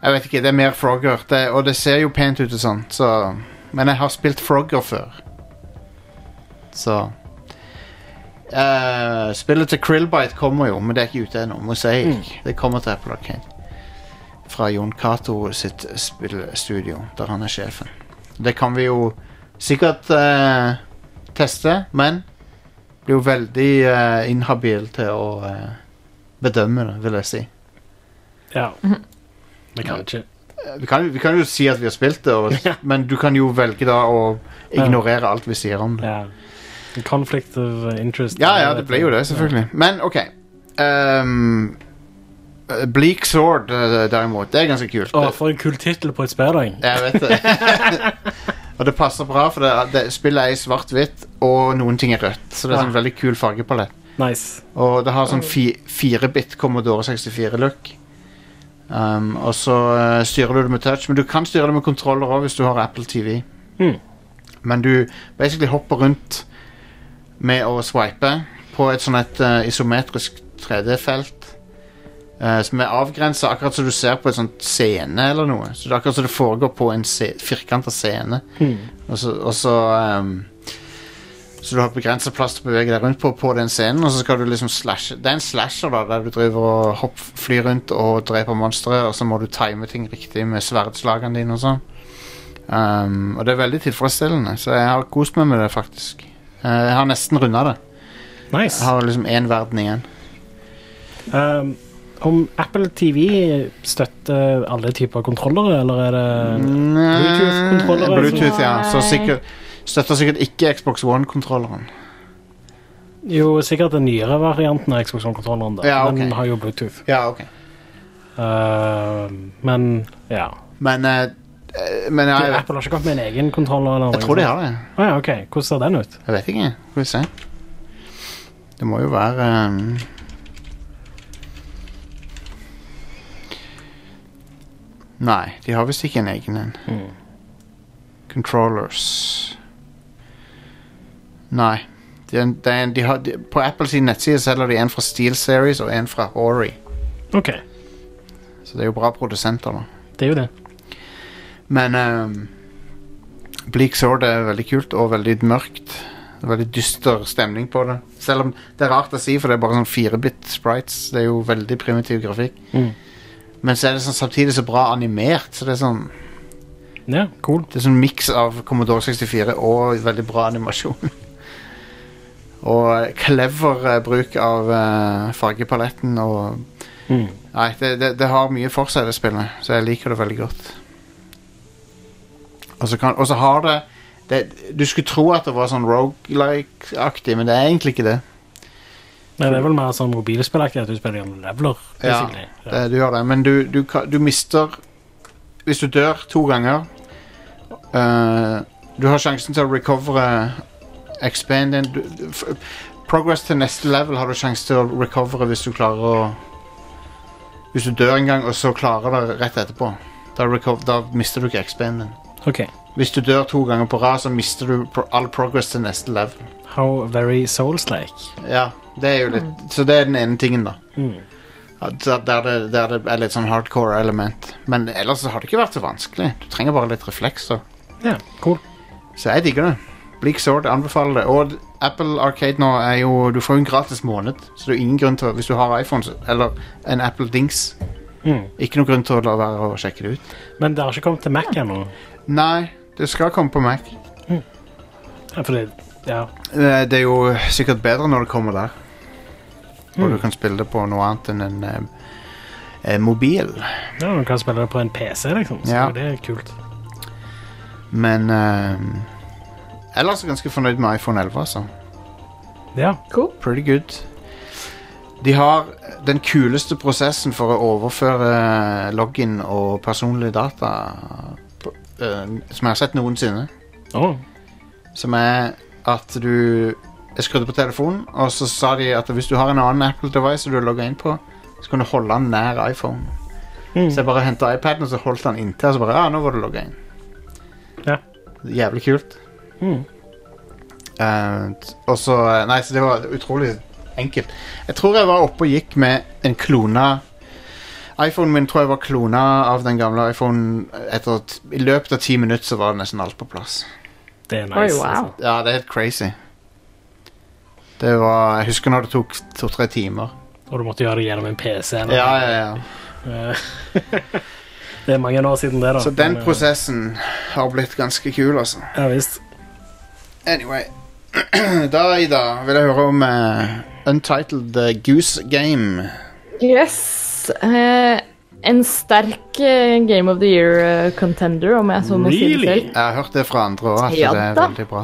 [SPEAKER 1] Jeg vet ikke, det er mer Frogger, det, og det ser jo pent ut og sånn, så Men jeg har spilt Frogger før. Så Eh, Spillet til Krillbite kommer jo, men det er ikke ute ennå. Mosaic. Det kommer til Apple Arcade. Fra Jon Cato sitt spillstudio, der han er sjefen. Det kan vi jo sikkert eh, teste, men blir jo veldig eh, inhabil til å eh, bedømme det, vil jeg si.
[SPEAKER 2] Ja. Det kan ikke.
[SPEAKER 1] Eh, Vi kan, vi kan jo si at vi har spilt det, og,
[SPEAKER 2] Ja.
[SPEAKER 1] men du kan jo velge da å
[SPEAKER 2] Ja.
[SPEAKER 1] ignorere alt vi sier om det.
[SPEAKER 2] Ja. Conflict of interest.
[SPEAKER 1] Ja, ja, det ble jo det, selvfølgelig. Men OK. Ehm, eh, Bleak Sword, eh, derimot, det er ganske kult.
[SPEAKER 2] Å,
[SPEAKER 1] Det-
[SPEAKER 2] for en kul tittel på et spill, da.
[SPEAKER 1] Jeg vet det. og det passer bra, for det, det, spillet er i svart-hvitt, og noen ting er rødt. Så det er
[SPEAKER 2] Ja.
[SPEAKER 1] sånn veldig kul fargepalett.
[SPEAKER 2] Nice.
[SPEAKER 1] Og det har sånn fi, 4-bit Commodore 64-look. Um, og så eh, styrer du det med touch, men du kan styre det med kontroller òg hvis du har Apple TV.
[SPEAKER 2] Mhm.
[SPEAKER 1] Men du basically hopper rundt med å swipe på et sånn et eh, isometrisk 3D-felt. eh, som er avgrensa, akkurat som du ser på en sånn scene eller noe. Så det er akkurat som det foregår på en se firkanta scene. Og så, og så ehm, Så du har begrenset plass til å bevege deg rundt på På den scenen, og så skal du liksom slashe Det er en slasher da, der du driver og hopp, flyr rundt Og dreper monstre Og så må du time ting riktig med sverdslagene dine og sånn Ehm, Og det er veldig tilfredsstillende Så jeg har kost meg med det faktisk Eh, Jeg har nesten rundet det Jeg
[SPEAKER 2] Nice.
[SPEAKER 1] har liksom en verden igjen
[SPEAKER 2] Um, om Apple TV støtter alle typer kontrollere, eller er
[SPEAKER 1] Mm,
[SPEAKER 2] det Bluetooth-kontroller, altså?
[SPEAKER 1] Eh, Bluetooth, ja Så
[SPEAKER 3] Nei.
[SPEAKER 1] sikkert, støtter sikkert ikke Xbox One-kontrolleren
[SPEAKER 2] Jo, sikkert den nyere varianten av Xbox One-kontrolleren. da.
[SPEAKER 1] Ja, ok.
[SPEAKER 2] Den har jo Bluetooth.
[SPEAKER 1] Ja, ok
[SPEAKER 2] Uh, men ja.
[SPEAKER 1] Men, eh, eh, men ja, jeg,
[SPEAKER 2] Apple har ikke kommet med en egen kontroller? Eller
[SPEAKER 1] jeg tror de har det
[SPEAKER 2] Ah, ja, ok. Hvordan ser den ut?
[SPEAKER 1] Jeg vet ikke. Skal vi se. Det må jo være um... Nei, de har visst ikke en egen en. Controllers Nei. Det er en, det er en, de har, de, på Apples nettside selger de en fra Steel Series og en fra Ori.
[SPEAKER 2] Ok,
[SPEAKER 1] Så det er jo bra produsenter, da.
[SPEAKER 2] det er jo det.
[SPEAKER 1] Men um, Bleak Sword er veldig kult og veldig mørkt. Det er Veldig dyster stemning på det. Selv om det er rart å si, for det er bare sånn 4-bit sprites. Det er jo veldig primitiv grafikk.
[SPEAKER 2] Mm.
[SPEAKER 1] Men så er det sånn, samtidig så bra animert. Så det er sånn,
[SPEAKER 2] Ja, cool.
[SPEAKER 1] det er sånn miks av Commodore 64 og veldig bra animasjon. og clever eh, bruk av eh, fargepaletten og
[SPEAKER 2] Mm.
[SPEAKER 1] Nei, det, det, det har mye for seg, det spillet, så jeg liker det veldig godt. Og så kan- og så har det, det Du skulle tro at det var sånn rogelike-aktig, men det er egentlig ikke det.
[SPEAKER 2] Nei, det er vel mer sånn mobilspillaktig at du spiller gjennom leveler.
[SPEAKER 1] Ja,
[SPEAKER 2] basically.
[SPEAKER 1] det du gjør det, men du, du, ka- du mister Hvis du dør to ganger eh, Du har sjansen til å recovere expand din. Du- du- f- Progress til neste level har du sjansen til å recovere hvis du klarer å Hvis du dør en gang, og så klarer det rett etterpå. Da, reco- da mister du ikke expanden.
[SPEAKER 2] Ok.
[SPEAKER 1] Hvis du dør to ganger på rad, så mister du pro all progress til neste level.
[SPEAKER 2] How very souls-like.
[SPEAKER 1] Ja, det er jo litt Så det er den ene tingen, da.
[SPEAKER 2] Mm.
[SPEAKER 1] Ja, Der der det, der det er litt sånn hardcore element. Men ellers så har det ikke vært så vanskelig. Du trenger bare litt reflekser.
[SPEAKER 2] Ja, cool.
[SPEAKER 1] Så jeg digger det. Bleak Sword anbefaler det. Og d- Apple Arcade nå er jo Du får jo en gratis måned, så det er jo ingen grunn til å Hvis du har iPhone så- eller en Apple Dings,
[SPEAKER 2] Mm.
[SPEAKER 1] ikke noen grunn til å la være å sjekke det ut.
[SPEAKER 2] Men det har ikke kommet til Mac ennå.
[SPEAKER 1] Nei, det skal komme på Mac.
[SPEAKER 2] Ja, for det, ja.
[SPEAKER 1] Eh, Det er jo sikkert bedre når det kommer der. Og
[SPEAKER 2] Mm.
[SPEAKER 1] du kan spille det på noe annet enn en eh, eh, mobil.
[SPEAKER 2] ja, du kan spille det på en PC, liksom. Så
[SPEAKER 1] Ja.
[SPEAKER 2] det er kult.
[SPEAKER 1] Men ehm, Ellers er jeg ganske fornøyd med iPhone 11, altså.
[SPEAKER 2] Ja.
[SPEAKER 3] Cool.
[SPEAKER 1] Pretty good. De har den kuleste prosessen for å overføre login og personlige data på- eh, som jeg har sett noensinne.
[SPEAKER 2] Å,
[SPEAKER 1] Som er at du Jeg skrudde på telefonen, og så sa de at hvis du har en annen Apple-device du er logga inn på, så kan du holde den nær iPhone.
[SPEAKER 2] Mm.
[SPEAKER 1] Så jeg bare henta iPaden, og så holdt den inntil, og så bare Ja, nå var du logga inn.
[SPEAKER 2] Ja.
[SPEAKER 1] Jævlig kult.
[SPEAKER 2] Mm.
[SPEAKER 1] Eh, t- og så eh, Nei, så det var utrolig enkelt. Jeg tror jeg var oppe og gikk med en klona iPhonen min tror jeg var klona av den gamle iPhonen. Etter at, I løpet av ti minutter så var nesten alt på plass.
[SPEAKER 2] Det er
[SPEAKER 3] Oi,
[SPEAKER 2] nice.
[SPEAKER 3] wow.
[SPEAKER 2] altså.
[SPEAKER 1] Ja, det er helt crazy. Det var Jeg husker når det tok to-tre timer.
[SPEAKER 2] Og du måtte gjøre det gjennom en PC. Eller?
[SPEAKER 1] Ja, ja, ja.
[SPEAKER 2] Eh, det er mange år siden det, da.
[SPEAKER 1] Så den
[SPEAKER 2] Men, eh,
[SPEAKER 1] prosessen har blitt ganske kul, altså.
[SPEAKER 2] Ja visst.
[SPEAKER 1] Anyway. Da, Ida, vil jeg høre om eh, Untitled eh, Goose Game.
[SPEAKER 3] Yes. eh, en sterk eh, Game of the Year-contender, om jeg så må si det
[SPEAKER 2] Really?
[SPEAKER 3] selv.
[SPEAKER 1] Jeg har hørt det fra andre òg, at
[SPEAKER 3] Ja
[SPEAKER 1] det er
[SPEAKER 3] da.
[SPEAKER 1] veldig bra.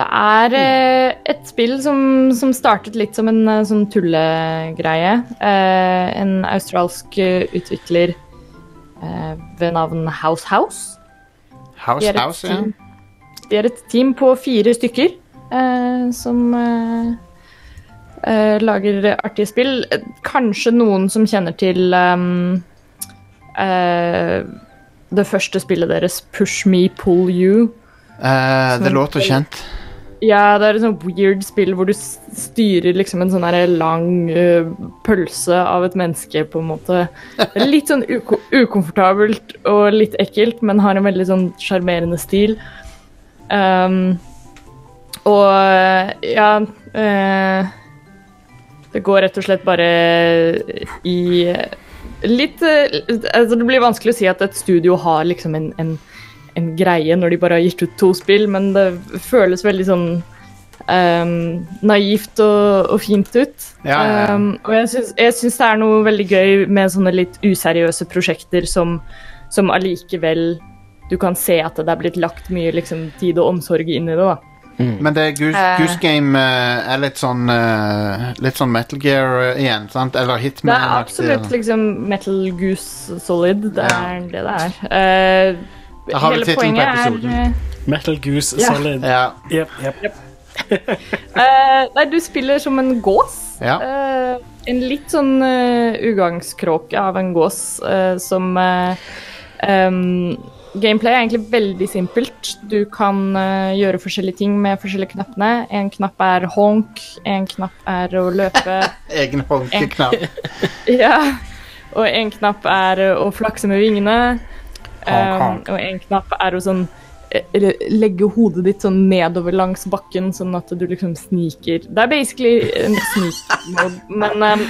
[SPEAKER 3] Det er eh, et spill som, som startet litt som en eh, sånn tullegreie. Eh, en australsk eh, utvikler eh, ved navn House House. De
[SPEAKER 1] House
[SPEAKER 3] er et
[SPEAKER 1] House, ja.
[SPEAKER 3] team- De er et team på fire stykker eh, som eh, eh, lager artige spill. Eh, Kanskje noen som kjenner til ehm, eh, det første spillet deres, Push Me, Pull You.
[SPEAKER 1] Eh, det låter kjent.
[SPEAKER 3] Ja, det er et sånt weird spill hvor du s- styrer liksom en sånn her lang eh, pølse av et menneske, på en måte. Det er Litt sånn uko ukomfortabelt og litt ekkelt, men har en veldig sånn sjarmerende stil. Ehm, og ja eh, Det går rett og slett bare i litt eh, Altså, det blir vanskelig å si at et studio har liksom en, en en greie når de bare har gitt ut to spill, men det føles veldig sånn ehm, naivt og, og fint ut.
[SPEAKER 1] Ja, ja, ja.
[SPEAKER 3] Ehm, og jeg syns, jeg syns det er noe veldig gøy med sånne litt useriøse prosjekter som, som allikevel du kan se at det er blitt lagt mye liksom, tid og omsorg inn i det. da.
[SPEAKER 1] Men det er Goose,
[SPEAKER 3] Eh.
[SPEAKER 1] Goose Game eh, er litt sånn eh, Litt sånn Metal Gear eh, igjen, sant? Eller
[SPEAKER 3] Det
[SPEAKER 1] Hitman.
[SPEAKER 3] er absolutt liksom Metal Goose Solid. Det
[SPEAKER 1] Ja.
[SPEAKER 3] er det det er. Eh,
[SPEAKER 1] Da har vi
[SPEAKER 3] hele
[SPEAKER 1] tittelen på
[SPEAKER 3] poenget er,
[SPEAKER 1] episoden.
[SPEAKER 3] eh,
[SPEAKER 2] Metal Goose
[SPEAKER 3] Ja.
[SPEAKER 2] Solid.
[SPEAKER 1] Ja.
[SPEAKER 2] Jep, jep.
[SPEAKER 3] Eh, nei, du spiller som en gås.
[SPEAKER 1] Ja.
[SPEAKER 3] Eh, en litt sånn eh, ugangskråke av en gås eh, som eh, em, Gameplay er egentlig veldig simpelt. Du kan eh, gjøre forskjellige ting med forskjellige knappene. En knapp er honk, en knapp er å løpe.
[SPEAKER 1] Egen håndknapp.
[SPEAKER 3] Ja. Og en knapp er ø, å flakse med vingene.
[SPEAKER 1] Honk,
[SPEAKER 3] Um,
[SPEAKER 1] honk.
[SPEAKER 3] og en knapp er å sånn eh, eller legge hodet ditt sånn nedover langs bakken, sånn at du liksom sniker. Det er basically en sneak-mode, men um,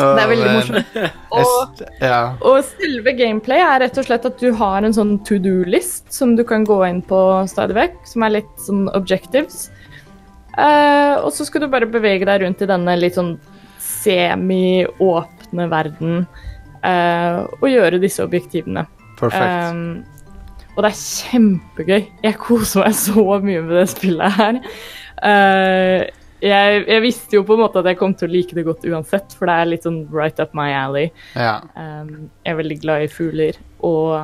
[SPEAKER 3] det er veldig morsomt. Og
[SPEAKER 1] Ja.
[SPEAKER 3] og selve gameplay er rett og slett at du har en sånn to do-list som du kan gå inn på stadig vekk, som er litt sånn objectives. Eh, og så skal du bare bevege deg rundt i denne litt sånn semi-åpne verden eh, og gjøre disse objektivene.
[SPEAKER 1] Perfekt.
[SPEAKER 3] Um, og det er kjempegøy. Jeg koser meg så mye med det spillet her. Uh, jeg, jeg visste jo på en måte at jeg kom til å like det godt uansett, for det er litt sånn right up my alley.
[SPEAKER 1] ja.
[SPEAKER 3] Um, jeg er veldig glad i fugler, og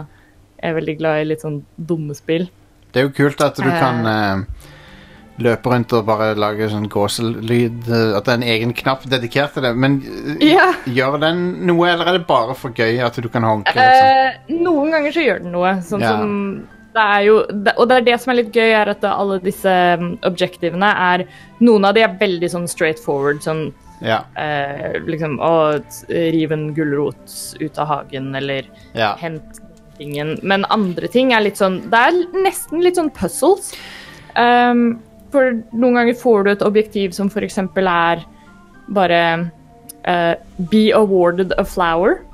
[SPEAKER 3] jeg er veldig glad i litt sånn dumme spill.
[SPEAKER 1] Det er jo kult at du
[SPEAKER 3] Eh.
[SPEAKER 1] kan eh, løpe rundt og bare lage sånn gåselyd. eh, at det er en egen knapp dedikert til det. Men eh,
[SPEAKER 3] Ja.
[SPEAKER 1] gjør den noe, eller er det bare for gøy at du kan honke? Liksom?
[SPEAKER 3] Eh, noen ganger så gjør den noe. Sånn
[SPEAKER 1] Ja.
[SPEAKER 3] som det er jo, det, og det er det som er litt gøy, er at alle disse um, objektivene er Noen av de er veldig sånn straight forward. Sånn
[SPEAKER 1] Ja.
[SPEAKER 3] eh, liksom Å, t- riv en gulrot ut av hagen, eller
[SPEAKER 1] ja.
[SPEAKER 3] hent tingen. Men andre ting er litt sånn Det er nesten litt sånn puzzles. Ehm, for noen ganger får du et objektiv som for eksempel er bare eh, Be awarded a flower.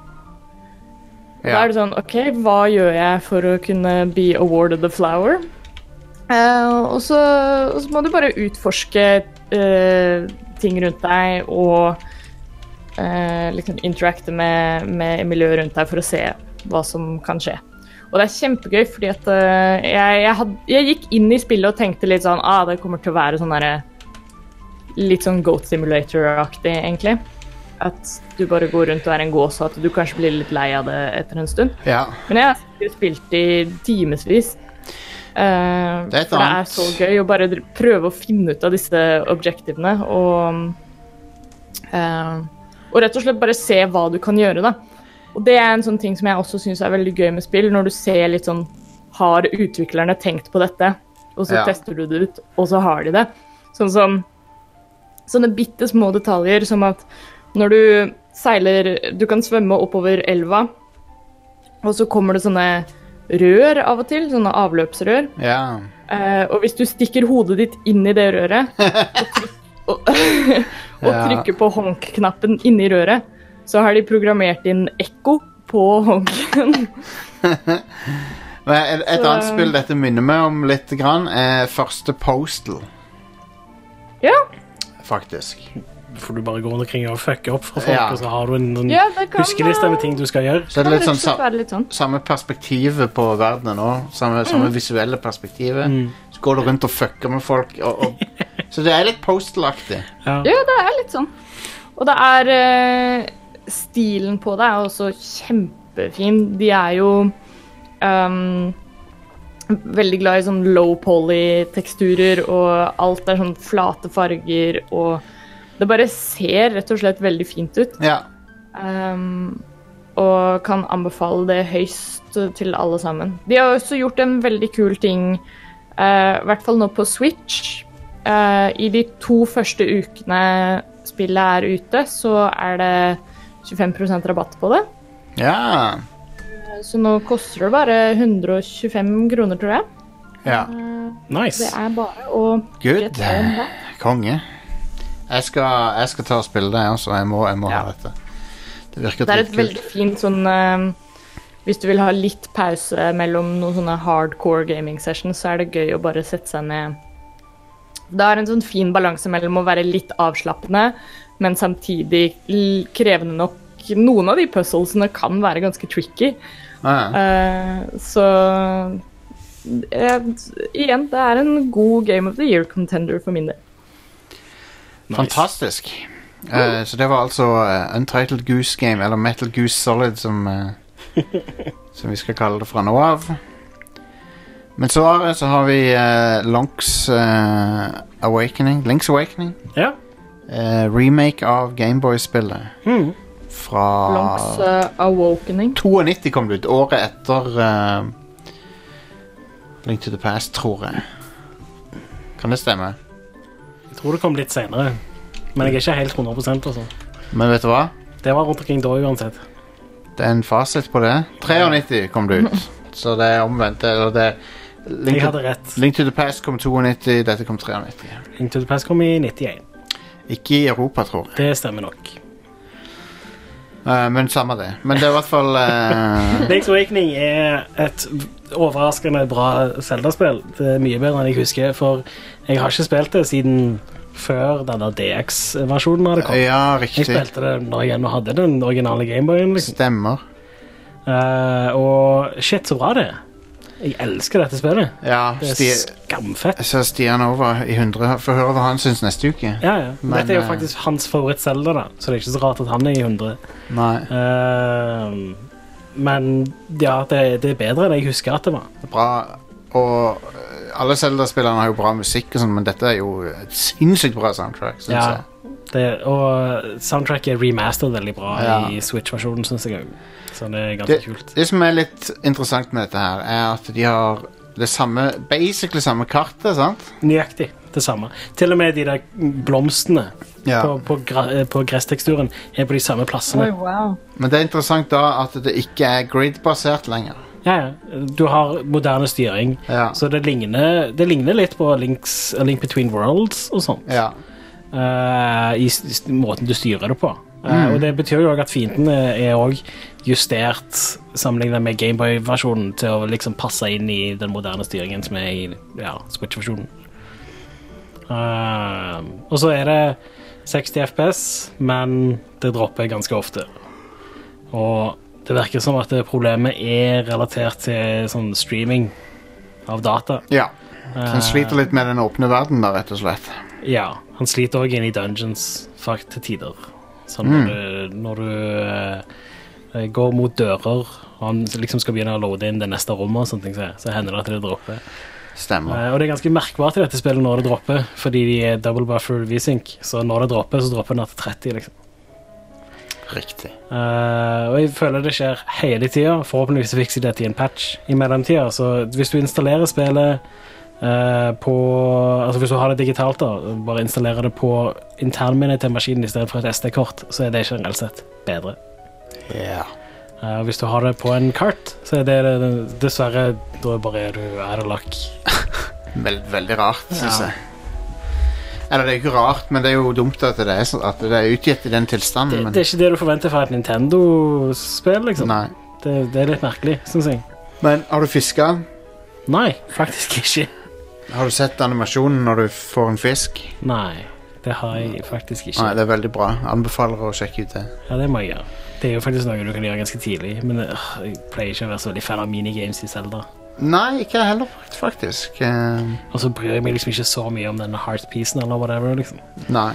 [SPEAKER 3] Da
[SPEAKER 1] ja.
[SPEAKER 3] er det sånn OK, hva gjør jeg for å kunne be awarded a flower? Eh, og, så, og så må du bare utforske eh, ting rundt deg og eh, liksom interacte med, med miljøet rundt deg for å se hva som kan skje. Og det er kjempegøy, fordi at eh, jeg, jeg, had, jeg gikk inn i spillet og tenkte litt sånn ah, det kommer til å være sånn derre Litt sånn Goat Simulator-aktig, egentlig. At du bare går rundt og er en gås, og at du kanskje blir litt lei av det etter en stund.
[SPEAKER 1] ja.
[SPEAKER 3] Men jeg har sikkert spilt i timevis. Eh,
[SPEAKER 1] Det er et
[SPEAKER 3] for det
[SPEAKER 1] annet.
[SPEAKER 3] er så gøy å bare dr- prøve å finne ut av disse objektivene og eh, Og rett og slett bare se hva du kan gjøre, da. Og det er en sånn ting som jeg også syns er veldig gøy med spill, når du ser litt sånn Har utviklerne tenkt på dette? Og så
[SPEAKER 1] Ja.
[SPEAKER 3] tester du det ut, og så har de det. Sånn som Sånne bitte små detaljer som at når du seiler Du kan svømme oppover elva, og så kommer det sånne rør av og til, sånne avløpsrør.
[SPEAKER 1] Ja.
[SPEAKER 3] Eh, og hvis du stikker hodet ditt inn i det røret og, tryk, og, og
[SPEAKER 1] Ja.
[SPEAKER 3] trykker på honk-knappen inni røret, så har de programmert inn ekko på honken.
[SPEAKER 1] Men et, et
[SPEAKER 3] Så-
[SPEAKER 1] annet spill dette minner meg om litt, grann, er første Postal,
[SPEAKER 3] ja,
[SPEAKER 1] faktisk.
[SPEAKER 2] For du bare går rundt omkring og fucker opp for folk,
[SPEAKER 1] Ja.
[SPEAKER 2] og så har du en sånn
[SPEAKER 3] ja, det kan
[SPEAKER 2] huskeliste med ting du skal gjøre.
[SPEAKER 1] Så
[SPEAKER 3] kan
[SPEAKER 1] det er litt
[SPEAKER 3] rett og
[SPEAKER 1] sånn
[SPEAKER 3] slett
[SPEAKER 1] sa,
[SPEAKER 3] være litt sånn.
[SPEAKER 1] samme perspektivet på verdenen òg. Samme, samme visuelle perspektivet. Så går du rundt og fucker med folk. Og, og, så det er litt Postal-aktig.
[SPEAKER 3] Ja, det er litt sånn. Og det er eh, Stilen på det er også kjempefin. De er jo ehm, veldig glad i sånn low poly-teksturer, og alt er sånn flate farger, og det bare ser rett og slett veldig fint ut.
[SPEAKER 1] Ja.
[SPEAKER 3] Ehm, og kan anbefale det høyst til alle sammen. De har også gjort en veldig kul ting, eh, i hvert fall nå på Switch. Eh, I de to første ukene spillet er ute, så er det 25 rabatt på det.
[SPEAKER 1] Ja.
[SPEAKER 3] Så nå koster det bare 125 kroner, tror jeg.
[SPEAKER 1] ja.
[SPEAKER 3] Det
[SPEAKER 2] Nice.
[SPEAKER 3] er bare å
[SPEAKER 1] Good.
[SPEAKER 3] rett hjem da.
[SPEAKER 1] Konge. Jeg skal, jeg skal ta og spille det, altså. Jeg må, jeg må
[SPEAKER 3] Ja.
[SPEAKER 1] ha dette. Det virker
[SPEAKER 3] Det er et
[SPEAKER 1] dritkult.
[SPEAKER 3] veldig fint sånn eh, Hvis du vil ha litt pause mellom noen sånne hardcore gaming sessions, så er det gøy å bare sette seg ned. Det er en sånn fin balanse mellom å være litt avslappende, men samtidig l- krevende nok. Noen av de puzzlesene kan være ganske tricky,
[SPEAKER 1] Ja.
[SPEAKER 3] eh, så eh, Igjen, det er en god Game of the Year contender for min del.
[SPEAKER 1] Fantastisk. Eh, så det var altså eh, Untitled Goose Game, eller Metal Goose Solid, som, eh, som vi skal kalle det fra nå av. Men så, har- så har vi eh, Lonks eh, Awakening, Links Awakening.
[SPEAKER 2] Ja.
[SPEAKER 1] Eh, remake av Gameboy-spillet.
[SPEAKER 2] Mhm.
[SPEAKER 1] Fra
[SPEAKER 3] Lonks eh, Awakening.
[SPEAKER 1] 92 kom det ut, året etter eh, Link to the Past, tror jeg. Kan det stemme?
[SPEAKER 2] Jeg tror det kom litt senere, men jeg er ikke helt 100 altså.
[SPEAKER 1] Men vet du hva?
[SPEAKER 2] Det var rundt omkring da uansett.
[SPEAKER 1] Det er en fasit på det. 93 kom det ut. Så det er omvendt. Eller det Link
[SPEAKER 2] Jeg
[SPEAKER 1] to,
[SPEAKER 2] hadde rett.
[SPEAKER 1] Link to the Past kom 92, dette kom 93.
[SPEAKER 2] Link to the Past kom i 91.
[SPEAKER 1] Ikke i Europa, tror jeg.
[SPEAKER 2] Det stemmer nok.
[SPEAKER 1] Eh, men samme det. Men det er i hvert fall eh,
[SPEAKER 2] Link's Awakening er et overraskende bra Zelda-spill. Det er mye bedre enn jeg husker, for jeg har ikke spilt det siden før denne DX-versjonen hadde
[SPEAKER 1] eh,
[SPEAKER 2] kommet.
[SPEAKER 1] Ja,
[SPEAKER 2] Jeg
[SPEAKER 1] riktig.
[SPEAKER 2] spilte det når jeg ennå hadde den originale Gameboyen. Liksom.
[SPEAKER 1] Stemmer.
[SPEAKER 2] Eh, og shit, så bra det er. Jeg elsker dette spillet.
[SPEAKER 1] Ja,
[SPEAKER 2] Det
[SPEAKER 1] Sti
[SPEAKER 2] er skamfett.
[SPEAKER 1] så Stian over i 100. Få høre hva han syns neste uke.
[SPEAKER 2] Ja, ja.
[SPEAKER 1] Men,
[SPEAKER 2] Dette er jo
[SPEAKER 1] eh,
[SPEAKER 2] faktisk hans favoritt-Zelda, da, så det er ikke så rart at han er i 100.
[SPEAKER 1] Nei,
[SPEAKER 2] Eh, men ja, det, det er bedre enn jeg husker at det var.
[SPEAKER 1] bra Og eh, alle Zelda-spillerne har jo bra musikk, og sånn, men dette er jo et sinnssykt bra soundtrack. Synes
[SPEAKER 2] Ja.
[SPEAKER 1] jeg.
[SPEAKER 2] Det, og soundtracket er remastert veldig bra
[SPEAKER 1] Ja.
[SPEAKER 2] i Switch-versjonen, syns jeg òg. Så det er ganske
[SPEAKER 1] det,
[SPEAKER 2] kult.
[SPEAKER 1] det som er litt interessant med dette her, er at de har det samme, basically samme kartet, sant?
[SPEAKER 2] Nøyaktig det samme. Til og med de der blomstene på, på, gra, eh, på gressteksturen er på de samme plassene.
[SPEAKER 1] Men det er interessant da at det ikke er grid-basert lenger.
[SPEAKER 2] Ja, ja. Du har moderne styring,
[SPEAKER 1] Ja.
[SPEAKER 2] så det ligner, det ligner litt på Links, Link Between Worlds og sånt.
[SPEAKER 1] Ja.
[SPEAKER 2] eh, i s- s- måten du styrer det på. Eh, Og det betyr jo òg at fiendene er også justert sammenlignet med Gameboy-versjonen til å liksom passe inn i den moderne styringen som er i ja, Switch-versjonen. Eh, og så er det 60 FPS, men det dropper ganske ofte. Og det virker som at det problemet er relatert til sånn streaming av data.
[SPEAKER 1] ja. Så
[SPEAKER 2] Eh.
[SPEAKER 1] den sliter litt med den åpne verden da, rett og slett.
[SPEAKER 2] Ja, han sliter òg inne i dungeons fakt til tider. Sånn når du, når du eh, går mot dører og han liksom skal begynne å loade inn det neste rommet, og sånne ting, så, så hender det at det dropper.
[SPEAKER 1] Stemmer.
[SPEAKER 2] Eh, Og det er ganske merkbart i dette spillet når det dropper, fordi de er double buffer V-sync. Så når det dropper, så dropper den ned til 30, liksom.
[SPEAKER 1] Riktig.
[SPEAKER 2] Eh, og jeg føler det skjer hele tida. Forhåpentligvis fikser de dette i en patch i mellomtida. Så hvis du installerer spillet eh, på Altså hvis du har det digitalt, da, bare installerer det på internminnet til maskinen i stedet for et SD-kort, så er det generelt sett bedre.
[SPEAKER 1] Ja.
[SPEAKER 2] Eh, og hvis du har det på en kart, så er det det- dessverre Da bare er du out of luck.
[SPEAKER 1] Vel- veldig rart, synes
[SPEAKER 2] Ja.
[SPEAKER 1] jeg. Eller det er jo ikke rart, men det er jo dumt at det er, sånn- at det er utgitt i den tilstanden.
[SPEAKER 2] Det,
[SPEAKER 1] Mm, men,
[SPEAKER 2] det er ikke det du forventer fra et Nintendo-spill, liksom.
[SPEAKER 1] Nei.
[SPEAKER 2] Det, det er litt merkelig, syns jeg.
[SPEAKER 1] men har du fiska?
[SPEAKER 2] Nei, faktisk ikke.
[SPEAKER 1] Har du sett animasjonen når du får en fisk?
[SPEAKER 2] Nei, det har jeg faktisk ikke.
[SPEAKER 1] Nei, det er veldig bra. Anbefaler å sjekke ut det.
[SPEAKER 2] Ja, det må jeg gjøre. Det er jo faktisk noe du kan gjøre ganske tidlig, men øh, jeg pleier ikke å være så veldig fan av minigames i Zelda.
[SPEAKER 1] Nei, ikke jeg heller, faktisk. Eh,
[SPEAKER 2] Og så bryr jeg meg liksom ikke så mye om denne heartpiecen eller whatever, liksom.
[SPEAKER 1] nei.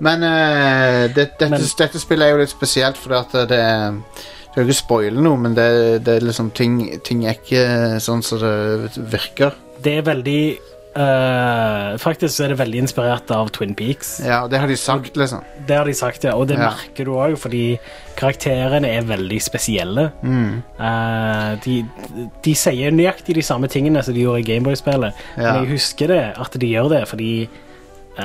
[SPEAKER 1] Men eh, det, dette,
[SPEAKER 2] Men-
[SPEAKER 1] dette spillet er jo litt spesielt, fordi at det er Du skal ikke spoile noe, men det, det er liksom ting, ting er ikke sånn som det virker.
[SPEAKER 2] Det er veldig øh, Faktisk så er det veldig inspirert av Twin Peaks.
[SPEAKER 1] Ja, og det har de sagt, liksom.
[SPEAKER 2] Det har de sagt, ja, og det
[SPEAKER 1] Ja.
[SPEAKER 2] merker du òg, fordi karakterene er veldig spesielle.
[SPEAKER 1] Mm.
[SPEAKER 2] Eh, de, de sier nøyaktig de samme tingene som de gjorde i Gameboy-spillet,
[SPEAKER 1] Ja.
[SPEAKER 2] men jeg husker det at de gjør det, fordi eh,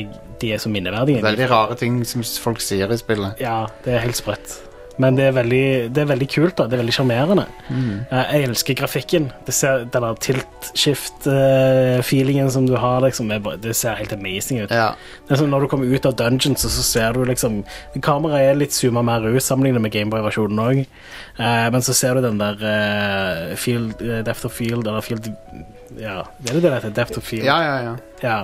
[SPEAKER 2] jeg, de er så minneverdige.
[SPEAKER 1] Veldig rare ting som folk sier i spillet.
[SPEAKER 2] Ja, det er helt sprøtt. Men det er veldig, det er veldig kult, da. Det er veldig sjarmerende. Eh, Jeg elsker grafikken. Det ser, den der tilt-skift-feelingen som du har, liksom, er, bare- det ser helt amazing ut.
[SPEAKER 1] Ja.
[SPEAKER 2] Det er sånn Når du kommer ut av dungeons, så, så ser du liksom Kameraet er litt zooma mer ut sammenlignet med Gameboy-versjonen òg, men så ser du den der eh, field, eh, depth of field, eller field Ja, er det det det heter? Depth of field?
[SPEAKER 1] ja, ja, ja.
[SPEAKER 2] Ja,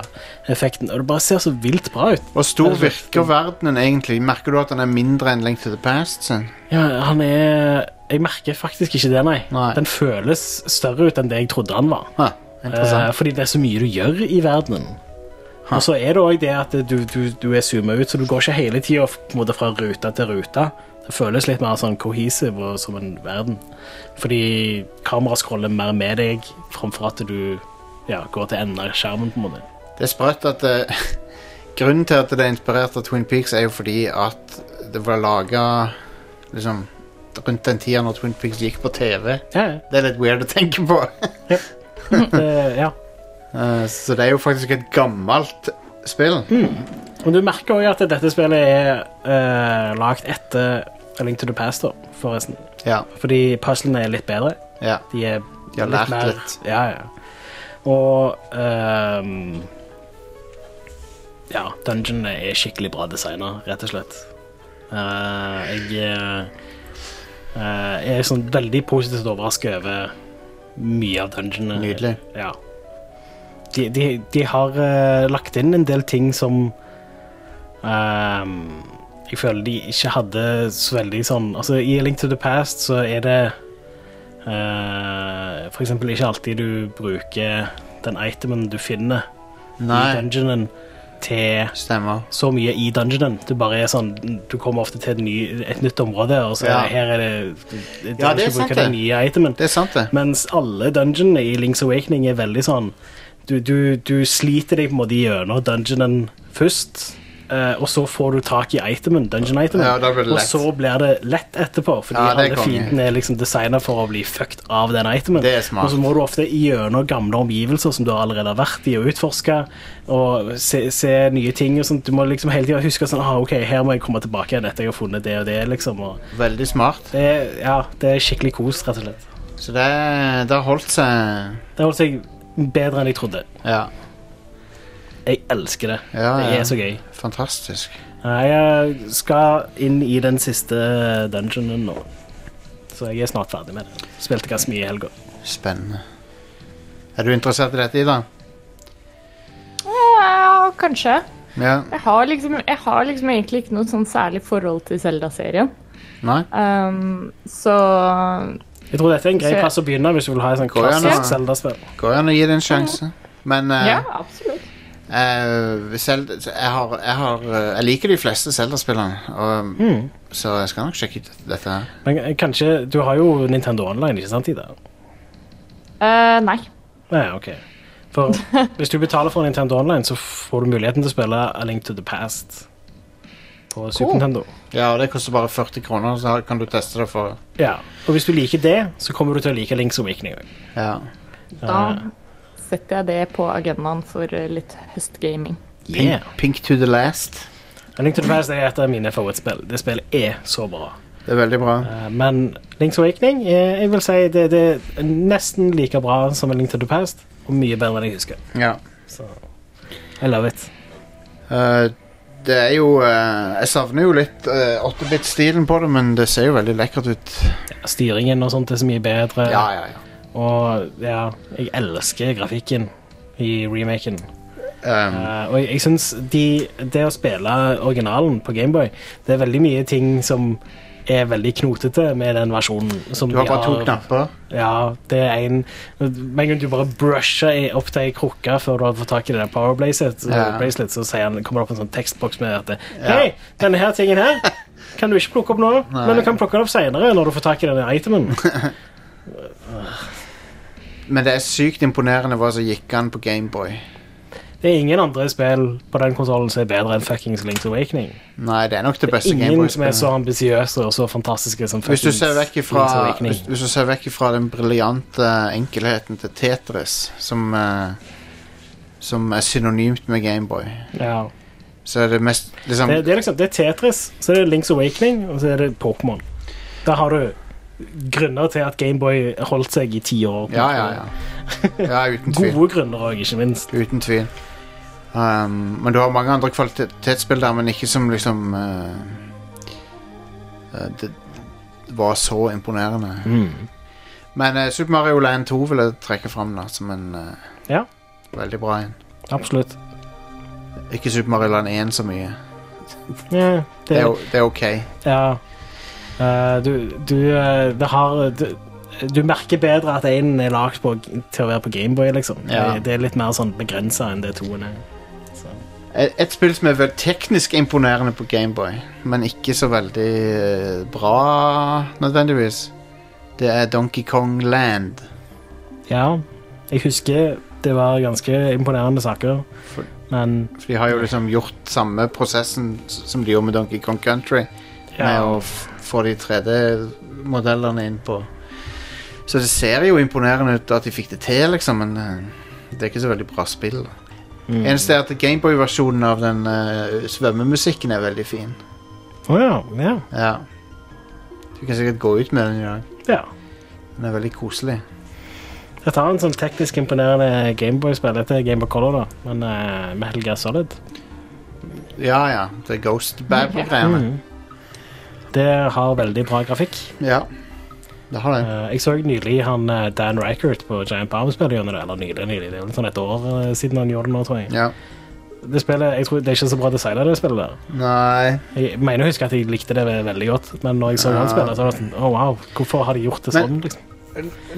[SPEAKER 2] effekten. Og det bare ser så vilt bra ut.
[SPEAKER 1] Og stor
[SPEAKER 2] Det er så-
[SPEAKER 1] virker verdenen egentlig. Merker du at den er mindre enn Link to the Past sin?
[SPEAKER 2] Ja, han er Jeg merker faktisk ikke det, nei.
[SPEAKER 1] Nei.
[SPEAKER 2] Den føles større ut enn det jeg trodde han var.
[SPEAKER 1] Huh,
[SPEAKER 2] Eh,
[SPEAKER 1] interessant.
[SPEAKER 2] fordi det er så mye du gjør i verdenen. Og så er det òg det at du, du, du er zooma ut, så du går ikke hele tida fra rute til rute. Det føles litt mer sånn cohesive og som en verden. Fordi kameraet scroller mer med deg framfor at du ja, går til enden av skjermen, på en måte.
[SPEAKER 1] Det er sprøtt at eh, Grunnen til at det er inspirert av Twin Peaks, er jo fordi at det var laga liksom, rundt den tida når Twin Peaks gikk på TV.
[SPEAKER 2] Ja, ja.
[SPEAKER 1] Det er litt weird å tenke på.
[SPEAKER 2] Det- ja.
[SPEAKER 1] Eh, så det er jo faktisk et gammelt spill.
[SPEAKER 2] Men du merker òg at dette spillet er uh, lagd etter A Link to the Past, da, forresten.
[SPEAKER 1] Ja,
[SPEAKER 2] Fordi puzzlene er litt bedre.
[SPEAKER 1] ja.
[SPEAKER 2] De er
[SPEAKER 1] De har lært litt.
[SPEAKER 2] Ja, ja. Og ehm, Ja, dungeonene er skikkelig bra designa, rett og slett. Eh, jeg eh, eh, er sånn veldig positivt overrasket over mye av dungeonene.
[SPEAKER 1] Nydelig.
[SPEAKER 2] Ja. De, de, de har eh, lagt inn en del ting som ehm, jeg føler de ikke hadde så veldig sånn Altså, i A Link to the Past så er det eh, For eksempel ikke alltid du bruker den itemen du finner i
[SPEAKER 1] Nei,
[SPEAKER 2] dungeonen, til
[SPEAKER 1] stemmer.
[SPEAKER 2] så mye i dungeonen. Du bare er sånn Du kommer ofte til et, ny, et nytt område, og så
[SPEAKER 1] Ja.
[SPEAKER 2] er- her er det Du, du
[SPEAKER 1] Ja,
[SPEAKER 2] kan
[SPEAKER 1] det er
[SPEAKER 2] ikke
[SPEAKER 1] sant,
[SPEAKER 2] bruke den
[SPEAKER 1] det.
[SPEAKER 2] nye itemen.
[SPEAKER 1] Det er sant, det.
[SPEAKER 2] Mens alle dungeonene i Link's Awakening er veldig sånn Du, du, du sliter deg på en måte gjennom dungeonen først. eh, og så får du tak i itemen, dungeon itemen,
[SPEAKER 1] Ja, da blir det
[SPEAKER 2] og
[SPEAKER 1] lett.
[SPEAKER 2] så blir det lett etterpå. Fordi
[SPEAKER 1] Ja, det er
[SPEAKER 2] alle
[SPEAKER 1] konge.
[SPEAKER 2] fiendene er liksom designa for å bli fucked av den itemen.
[SPEAKER 1] Det er smart.
[SPEAKER 2] Og så må du ofte gjennom gamle omgivelser som du allerede har vært i, og utforske. Og se, se nye ting. Og sånt. Du må liksom hele tida huske sånn, ah, ok, her må jeg komme tilbake igjen etter jeg har funnet det og det. liksom og
[SPEAKER 1] Veldig smart.
[SPEAKER 2] det, er- ja, det er skikkelig kos, rett og slett.
[SPEAKER 1] Så det, det har holdt seg
[SPEAKER 2] Det holdt seg bedre enn jeg trodde.
[SPEAKER 1] Ja.
[SPEAKER 2] Jeg elsker det.
[SPEAKER 1] Ja,
[SPEAKER 2] Det
[SPEAKER 1] ja.
[SPEAKER 2] er så gøy.
[SPEAKER 1] Fantastisk.
[SPEAKER 2] Jeg skal inn i den siste dungeonen nå. Så jeg er snart ferdig med det. Spilte ganske mye i helga.
[SPEAKER 1] Spennende. Er du interessert i dette, Ida?
[SPEAKER 3] Ja, kanskje.
[SPEAKER 1] Ja.
[SPEAKER 3] Jeg har, liksom, jeg har liksom egentlig ikke noe sånn særlig forhold til Zelda-serien.
[SPEAKER 1] Nei?
[SPEAKER 3] Um, så
[SPEAKER 2] Jeg tror dette er en grei
[SPEAKER 3] Så-
[SPEAKER 2] plass å begynne hvis du vil ha et sånn
[SPEAKER 1] Går jeg nå?
[SPEAKER 2] klassisk Zelda-spill.
[SPEAKER 1] Går an å gi det en sjanse. Men eh,
[SPEAKER 3] ja, absolutt.
[SPEAKER 1] eh, selv, jeg, har, jeg, har, eh, jeg liker de fleste Zelda-spillene, og- um, så jeg skal nok sjekke ut dette. her.
[SPEAKER 2] eh, Men kanskje Du har jo Nintendo Online, ikke sant, Ida?
[SPEAKER 3] Eh, nei.
[SPEAKER 2] Nei, ok. For hvis du betaler for Nintendo Online, så får du muligheten til å spille A Link to the Past på Super
[SPEAKER 3] Cool.
[SPEAKER 2] Nintendo.
[SPEAKER 1] Ja, og det koster bare 40 kroner, så her kan du teste det for
[SPEAKER 2] Ja, Og hvis du liker det, så kommer du til å like Link's Awakening òg.
[SPEAKER 1] Ja.
[SPEAKER 3] Da setter jeg det på agendaen for eh, litt høstgaming.
[SPEAKER 1] Pink, pink to the last.
[SPEAKER 2] A Link to the Past er et av mine favorittspill. Det spillet er så bra.
[SPEAKER 1] Det er veldig bra.
[SPEAKER 2] Eh, Men Link's Awakening eh, jeg vil si det, det er nesten like bra som A Link to the Past, og mye bedre enn jeg husker.
[SPEAKER 1] Ja.
[SPEAKER 2] Så I love it.
[SPEAKER 1] Eh, det er jo eh, Jeg savner jo litt eh, 8-bit-stilen på det, men det ser jo veldig lekkert ut.
[SPEAKER 2] Styringen og sånt er så mye bedre,
[SPEAKER 1] Ja, ja, ja.
[SPEAKER 2] og ja, jeg elsker grafikken i remaken.
[SPEAKER 1] Um,
[SPEAKER 2] Eh, og jeg, jeg syns de, det å spille originalen på Gameboy, det er veldig mye ting som er veldig knotete med den versjonen. Som
[SPEAKER 1] du har
[SPEAKER 2] de
[SPEAKER 1] bare to knapper.
[SPEAKER 2] Ja, det er en Med en gang du bare brusher i- opp til ei krukke før du har fått tak i det der power bracelet, eh,
[SPEAKER 1] Ja.
[SPEAKER 2] bracelet så sier han, kommer det opp en sånn tekstboks med at
[SPEAKER 1] Ja.
[SPEAKER 2] Hei, denne her tingen her kan du ikke plukke opp nå,
[SPEAKER 1] Nei.
[SPEAKER 2] men du kan plukke den opp seinere når du får tak i denne itemen.
[SPEAKER 1] Men det er sykt imponerende hva som gikk an på Gameboy.
[SPEAKER 2] Det er ingen andre spill på den konsollen som er bedre enn fuckings Link's Awakening.
[SPEAKER 1] Nei, det er nok det beste
[SPEAKER 2] Ingen som er så
[SPEAKER 1] Gameboy-spillet.
[SPEAKER 2] ambisiøse og så fantastiske som
[SPEAKER 1] Hvis du
[SPEAKER 2] fuckings
[SPEAKER 1] ser vekk ifra,
[SPEAKER 2] Link's Awakening.
[SPEAKER 1] hvis, hvis du ser vekk ifra den briljante enkelheten til Tetris, som, eh, som er synonymt med Gameboy,
[SPEAKER 2] ja.
[SPEAKER 1] så er det mest liksom
[SPEAKER 2] det, det er liksom det er Tetris, så er det Link's Awakening, og så er det Pokémon. Der har du grunner til at Gameboy holdt seg i ti år.
[SPEAKER 1] Ja, ja, ja. Ja, uten tvil.
[SPEAKER 2] Gode grunner òg, ikke minst.
[SPEAKER 1] Uten tvil. Um, men du har mange andre kvalitetsspill der, men ikke som liksom eh, eh, Det var så imponerende. Men eh, Super Mario Land 2 vil jeg trekke fram da, som en eh,
[SPEAKER 2] Ja.
[SPEAKER 1] veldig bra en.
[SPEAKER 2] Absolutt.
[SPEAKER 1] Ikke Super Mario Land 1 så mye.
[SPEAKER 2] Ja,
[SPEAKER 1] Det
[SPEAKER 2] det,
[SPEAKER 1] er, o- det er ok.
[SPEAKER 2] ja. Eh, du, du eh, Det har du, du merker bedre at én er lagd på- til å være på Gameboy, liksom.
[SPEAKER 1] Ja.
[SPEAKER 2] Det, det er litt mer sånn begrensa enn det toen er. Så.
[SPEAKER 1] Et, et spill som er vel teknisk imponerende på Gameboy, men ikke så veldig eh, bra nødvendigvis, det er Donkey Kong Land.
[SPEAKER 2] Ja, jeg husker det var ganske imponerende saker,
[SPEAKER 1] For-
[SPEAKER 2] men
[SPEAKER 1] For de har jo liksom gjort samme prosessen s- som de gjorde med Donkey Kong Country, med å f få de 3D-modellene inn på Så det ser jo imponerende ut at de fikk det til, liksom, men eh, det er ikke så veldig bra spill. da.
[SPEAKER 2] Mm.
[SPEAKER 1] Eneste er at Gameboy-versjonen av den eh, svømmemusikken er veldig fin.
[SPEAKER 2] Å ja, ja.
[SPEAKER 1] Ja. Du kan sikkert gå ut med den i dag.
[SPEAKER 2] ja.
[SPEAKER 1] Den er veldig koselig.
[SPEAKER 2] Dette har en sånn teknisk imponerende Gameboy-spill. Dette er Gameboy Color, da, men eh, med Helga Solid.
[SPEAKER 1] Ja, ja. Det er Ghost Bab-greiene.
[SPEAKER 2] Mhm. Det har veldig bra grafikk.
[SPEAKER 1] Ja. Det har det.
[SPEAKER 2] Eh, jeg så nylig han eh, Dan Reichert på Giant Bomb spille gjennom det. Eller nylig, nylig. Det er vel sånn et år eh, siden han gjorde det nå, tror jeg.
[SPEAKER 1] Ja.
[SPEAKER 2] Det spillet, jeg tror Det er ikke så bra design av det spillet der.
[SPEAKER 1] Nei
[SPEAKER 2] Jeg mener å huske at jeg likte det ve- veldig godt, men når jeg så han
[SPEAKER 1] Ja.
[SPEAKER 2] spille, så var det sånn Å, wow, hvorfor har de gjort det
[SPEAKER 1] Men-
[SPEAKER 2] sånn, liksom?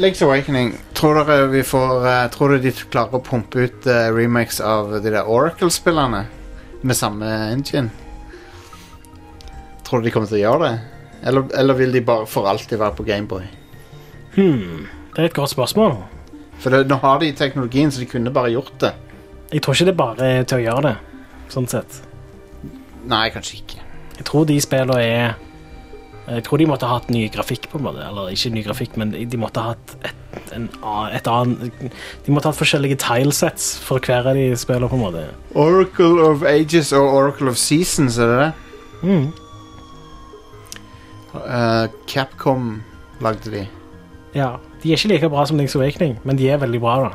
[SPEAKER 1] Link's Awakening. Tror dere vi får eh, Tror dere de klarer å pumpe ut eh, remakes av de der Oracle-spillerne med samme engine? Tror du de kommer til å gjøre det? Eller, eller vil de bare for alltid være på Gameboy?
[SPEAKER 2] Hmm, det er et godt spørsmål.
[SPEAKER 1] For det, nå har de teknologien, så de kunne bare gjort det.
[SPEAKER 2] Jeg tror ikke det bare er til å gjøre det, sånn sett.
[SPEAKER 1] Nei, kanskje ikke.
[SPEAKER 2] Jeg tror de spillene er Jeg tror de måtte ha hatt ny grafikk, på en måte. Eller ikke ny grafikk, men de måtte ha hatt et, en, annen- et annet De måtte ha hatt forskjellige tilesets for hver av de spillene, på en måte.
[SPEAKER 1] Oracle of Ages og Oracle of Seasons, er det det?
[SPEAKER 2] Mm.
[SPEAKER 1] Eh, Capcom lagde de.
[SPEAKER 2] Ja. De er ikke like bra som Link's Awakening, men de er veldig bra, da.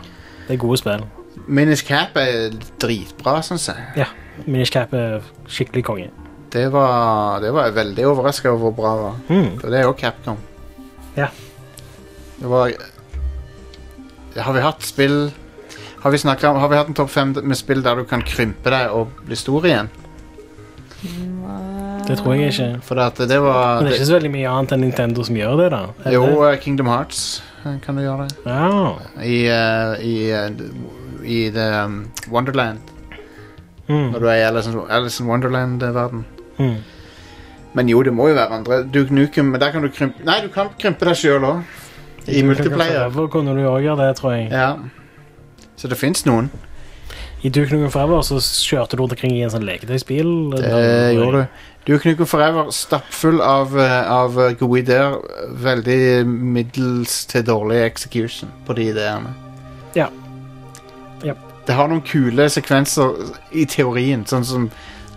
[SPEAKER 2] Det er gode spill.
[SPEAKER 1] Minus Cap er dritbra, syns jeg.
[SPEAKER 2] Minishcap er skikkelig konge.
[SPEAKER 1] Det var, det var jeg veldig overraska over hvor bra det var.
[SPEAKER 2] Mm.
[SPEAKER 1] For det er jo Capcom.
[SPEAKER 2] Ja.
[SPEAKER 1] Det var Har vi hatt spill Har vi, snakket om, har vi hatt en topp fem med spill der du kan krympe deg og bli stor igjen?
[SPEAKER 2] Det tror jeg ikke.
[SPEAKER 1] For det, at det var
[SPEAKER 2] Men det er ikke så veldig mye annet enn Nintendo som gjør det, da. Er det
[SPEAKER 1] Jo,
[SPEAKER 2] det?
[SPEAKER 1] eh, Kingdom Hearts eh, kan du gjøre det.
[SPEAKER 2] Ja.
[SPEAKER 1] I, eh, i, eh, i the, um, Wonderland.
[SPEAKER 2] Mm.
[SPEAKER 1] Når du er i Alice, in- Alice in Wonderland-verden.
[SPEAKER 2] Mm.
[SPEAKER 1] Men jo, det må jo være andre. Duke Nukem, men der kan du krympe Nei, du kan krympe deg sjøl òg. I multiplayer.
[SPEAKER 2] Kunne du òg gjøre det, tror jeg.
[SPEAKER 1] Ja. Så det fins noen.
[SPEAKER 2] I Duke Nukem Forever så kjørte du rundt omkring i en sånn leketøysbil.
[SPEAKER 1] Det gjorde du. Duke Nukem Forever, stappfull av, eh, av eh, gode ideer. Veldig middels til dårlig execution på de ideene.
[SPEAKER 2] Ja. Ja.
[SPEAKER 1] Det har noen kule sekvenser i teorien, sånn som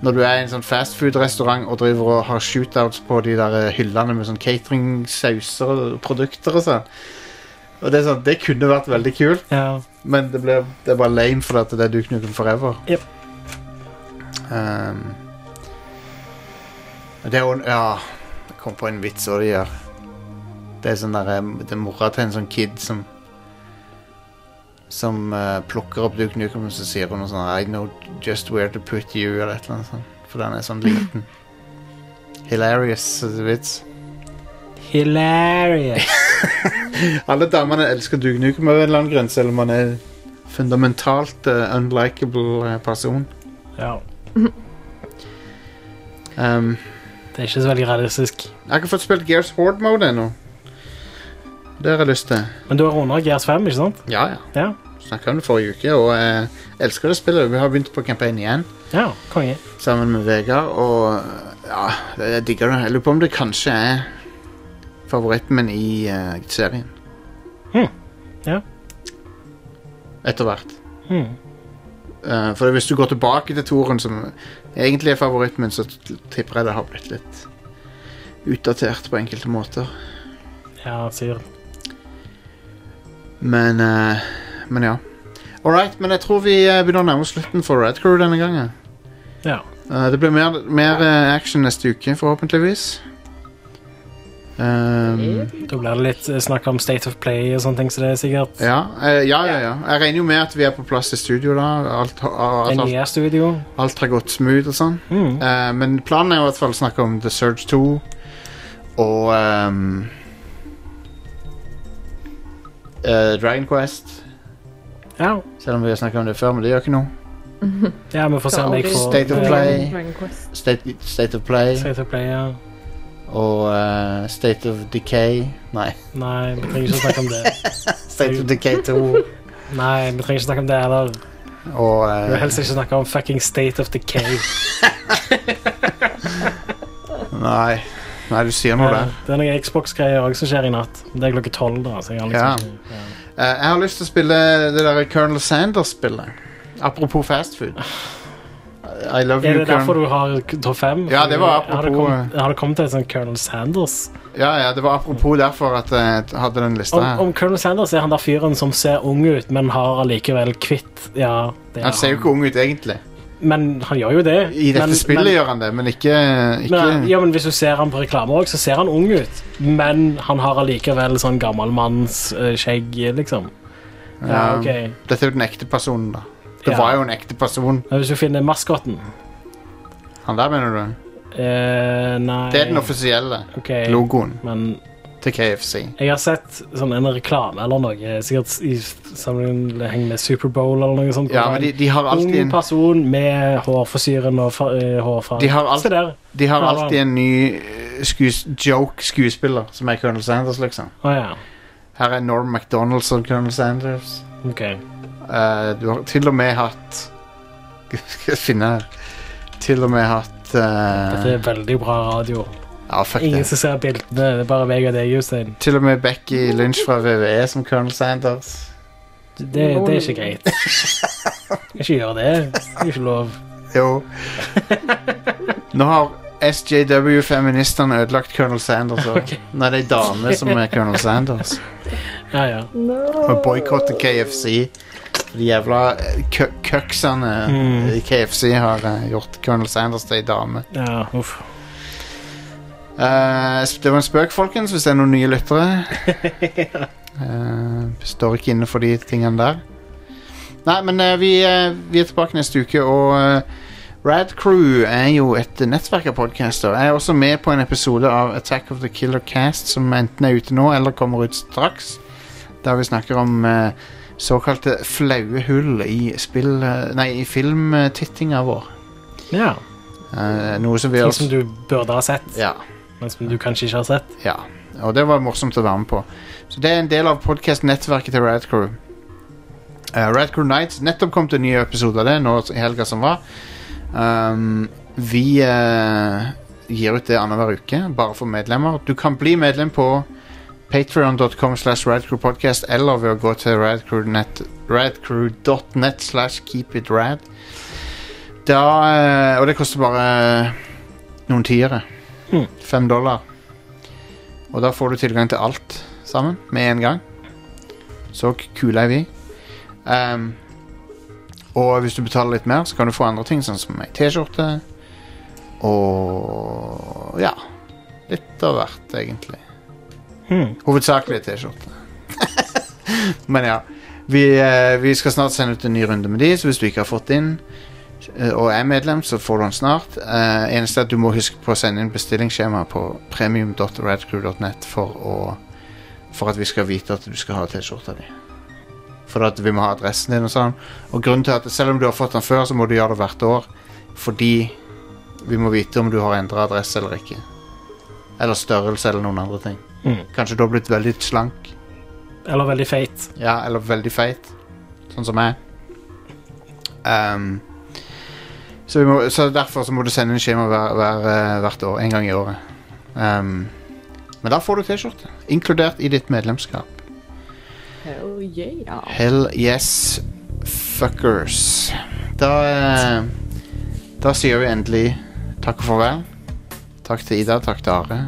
[SPEAKER 1] når du er i en sånn fastfood-restaurant og driver og har shootouts på de der eh, hyllene med sånn catering-sauser og produkter og sånn. Og det, er sånn, det kunne vært veldig kult.
[SPEAKER 2] Ja.
[SPEAKER 1] Men det, ble, det er bare lame fordi at det er Duke Nukem Forever.
[SPEAKER 2] Yep.
[SPEAKER 1] Ehm, det er jo en Ja, jeg kom på en vits hva de gjør. Det er sånn der, eh, det er mora til en sånn kid som som eh, plukker opp Duke Nukem og så sier hun noe sånn I know just where to put you, eller et eller annet sånt. For den er sånn liten. Hilarious eh, vits.
[SPEAKER 2] Hilarious.
[SPEAKER 1] Alle damene elsker Duke Nukem over en eller annen grunn, selv om han er fundamentalt eh, unlikable eh, person.
[SPEAKER 2] ja.
[SPEAKER 1] Um,
[SPEAKER 2] Det er ikke så veldig realistisk.
[SPEAKER 1] jeg har ikke fått spilt Gears Horde Mode ennå. Det har jeg lyst til.
[SPEAKER 2] Men du har runda Gears 5, ikke sant?
[SPEAKER 1] Ja, ja.
[SPEAKER 2] Ja.
[SPEAKER 1] Snakka om det forrige uke, og jeg elsker det spillet. Vi har begynt på campaign igjen
[SPEAKER 2] Ja, konge.
[SPEAKER 1] sammen med Vegard, og eh, ja, jeg digger det. Jeg lurer på om det kanskje er favoritten min i eh, serien.
[SPEAKER 2] Hmm. Ja.
[SPEAKER 1] Etter hvert.
[SPEAKER 2] Hmm.
[SPEAKER 1] Eh, for hvis du går tilbake til Toren, som egentlig er favoritten min, så t- tipper jeg det har blitt litt utdatert på enkelte måter.
[SPEAKER 2] Ja, sier
[SPEAKER 1] Men, eh, men ja. All right, men jeg tror vi eh, begynner å nærme oss slutten for Red Crew denne gangen.
[SPEAKER 2] Ja.
[SPEAKER 1] Eh, det blir mer, mer eh, action neste uke, forhåpentligvis. Ehm,
[SPEAKER 2] Da blir det litt eh, snakk om State of Play og sånne ting, så det er sikkert
[SPEAKER 1] ja, eh, ja, ja, ja. Jeg regner jo med at vi er på plass i studio da. Alt, har-
[SPEAKER 2] en
[SPEAKER 1] alt, alt,
[SPEAKER 2] nye studio.
[SPEAKER 1] alt har gått smooth og sånn.
[SPEAKER 2] Mm.
[SPEAKER 1] Eh, men planen er i hvert fall å snakke om The Surge 2 og ehm, eh, Dragon Quest.
[SPEAKER 2] Ja.
[SPEAKER 1] Selv om vi har snakka om det før, men det gjør ikke noe.
[SPEAKER 2] ja, vi får se om jeg får
[SPEAKER 1] State of
[SPEAKER 2] eh,
[SPEAKER 1] Play.
[SPEAKER 3] Dragon Quest.
[SPEAKER 1] State, state of Play.
[SPEAKER 2] State of Play, ja.
[SPEAKER 1] Og eh, State of Decay Nei,
[SPEAKER 2] Nei, vi trenger ikke å snakke om det.
[SPEAKER 1] State of Decay 2
[SPEAKER 2] Nei, vi trenger ikke snakke om det heller.
[SPEAKER 1] Og
[SPEAKER 2] Vi vil
[SPEAKER 1] eh,
[SPEAKER 2] helst ikke snakke om fucking State of Decay.
[SPEAKER 1] nei. nei, du sier noe der
[SPEAKER 2] Eh, Det er noen Xbox-greier også som skjer i natt. Det er klokka tolv, da. Så jeg har liksom ikke- ja.
[SPEAKER 1] Eh, Jeg har lyst til å spille det der Colonel Sanders-spillet Apropos fast food I love
[SPEAKER 2] Er
[SPEAKER 1] you,
[SPEAKER 2] det derfor
[SPEAKER 1] Colonel
[SPEAKER 2] du har topp fem?
[SPEAKER 1] Ja, det var
[SPEAKER 2] Har det
[SPEAKER 1] apropos- eh,
[SPEAKER 2] kommet, har det kommet til et sånt Colonel Sanders?
[SPEAKER 1] Ja, ja, det var apropos derfor at jeg hadde den lista
[SPEAKER 2] Om,
[SPEAKER 1] her
[SPEAKER 2] om Colonel Sanders er han der fyren som ser ung ut, men har allikevel kvitt Ja, det er
[SPEAKER 1] Han ser jo ikke ung ut egentlig
[SPEAKER 2] Men han gjør jo det.
[SPEAKER 1] I dette
[SPEAKER 2] men,
[SPEAKER 1] spillet
[SPEAKER 2] men,
[SPEAKER 1] gjør han det, men ikke, ikke
[SPEAKER 2] Men, ja, men Hvis du ser han på reklamer òg, så ser han ung ut. Men han har allikevel sånn gammelmannsskjegg, liksom. Ja,
[SPEAKER 1] Ja.
[SPEAKER 2] ok.
[SPEAKER 1] Dette er jo den ekte personen da Det
[SPEAKER 2] Ja.
[SPEAKER 1] var jo en ekte person
[SPEAKER 2] Men hvis du finner maskotten
[SPEAKER 1] Han der mener du?
[SPEAKER 2] eh, Nei.
[SPEAKER 1] Det er den offisielle
[SPEAKER 2] Ok,
[SPEAKER 1] logoen
[SPEAKER 2] Men
[SPEAKER 1] til KFC
[SPEAKER 2] jeg har sett sånn en reklame eller noe, sikkert i sammenheng med Superbowl eller noe sånt.
[SPEAKER 1] Ja, men de, de har
[SPEAKER 2] Ung
[SPEAKER 1] alltid en
[SPEAKER 2] person med hårforsyren og fa- eh, hårfra.
[SPEAKER 1] De har alt-
[SPEAKER 2] Se der.
[SPEAKER 1] De har
[SPEAKER 2] Ja, da.
[SPEAKER 1] alltid en ny eh, skues joke-skuespiller som er Colonel Sanders, liksom.
[SPEAKER 2] Å ja.
[SPEAKER 1] Her er Norm MacDonald som Colonel Sanders.
[SPEAKER 2] Ok.
[SPEAKER 1] Eh, du har til og med hatt Skal jeg finne her Til og med hatt
[SPEAKER 2] Dette
[SPEAKER 1] eh,
[SPEAKER 2] er veldig bra radio.
[SPEAKER 1] Ja, fuck
[SPEAKER 2] Ingen
[SPEAKER 1] det.
[SPEAKER 2] som ser bildene. Det er bare meg og deg, Jostein.
[SPEAKER 1] Til og med Becky Lynch fra VVE som Colonel Sanders.
[SPEAKER 2] Det, det er ikke greit. Ikke gjør det. Det er ikke lov.
[SPEAKER 1] Jo. Nå har SJW-feministene ødelagt Colonel Sanders. også.
[SPEAKER 2] Ok.
[SPEAKER 1] Nå er det ei dame som er Colonel Sanders.
[SPEAKER 2] Ja, ja.
[SPEAKER 1] Og boykotte KFC. De jævla eh, kø- køksene
[SPEAKER 2] Mm.
[SPEAKER 1] i KFC har eh, gjort Colonel Sanders til ei dame.
[SPEAKER 2] ja uff.
[SPEAKER 1] Eh, s- det var en spøk, folkens, hvis det er noen nye lyttere. Eh, står ikke inne for de tingene der. Nei, men eh, vi, eh, vi er tilbake neste uke, og eh, Rad Crew er jo et nettverk av podcaster. Jeg er også med på en episode av Attack of the Killer Cast, som enten er ute nå eller kommer ut straks. Der vi snakker om eh, såkalte flaue hull i, spill, eh, nei, i filmtittinga vår.
[SPEAKER 2] Ja.
[SPEAKER 1] Eh, noe som vi
[SPEAKER 2] Ting
[SPEAKER 1] også
[SPEAKER 2] som du burde ha sett,
[SPEAKER 1] Ja.
[SPEAKER 2] men som du kanskje ikke har sett.
[SPEAKER 1] Ja, og det var morsomt å være med på. Så det er en del av podcast-nettverket til Radcrew. Eh, Red Crew Nights nettopp kom til en ny episode av det nå i helga som var. Um, vi eh, gir ut det annenhver uke, bare for medlemmer. Du kan bli medlem på patreon.com slash radcrewpodcast eller ved å gå til radcrew.net radcrew.net slash keepitrad. Da eh, Og det koster bare eh, noen tiere. Fem dollar. Og da får du tilgang til alt sammen med en gang. Så k- kule er vi. Ehm, og hvis du betaler litt mer, så kan du få andre ting, sånn som ei T-skjorte. Og ja. Litt av hvert, egentlig. Hovedsakelig T-skjorte. Men ja. Vi, eh, vi skal snart sende ut en ny runde med de, så hvis du ikke har fått inn eh, og er medlem, så får du den snart. Eh, eneste er at du må huske på å sende inn bestillingsskjema på premium.radcrew.net for, å- for at vi skal vite at du skal ha T-skjorta di. For at vi må ha adressen din og sånn. Og grunnen til at selv om du har fått den før, så må du gjøre det hvert år. Fordi vi må vite om du har endra adresse eller ikke. Eller størrelse eller noen andre ting.
[SPEAKER 2] Mm.
[SPEAKER 1] Kanskje du har blitt veldig slank.
[SPEAKER 2] Eller veldig feit.
[SPEAKER 1] Ja, eller veldig feit. Sånn som meg. Ehm, så, vi må, så derfor så må du sende inn skjema hver, hver, eh, hvert år. En gang i året. Ehm, men da får du T-skjorte. Inkludert i ditt medlemskap.
[SPEAKER 3] Hell yeah.
[SPEAKER 1] Hell yes, fuckers. Da, eh, da sier vi endelig takk og farvel. Takk til Ida, takk til Are,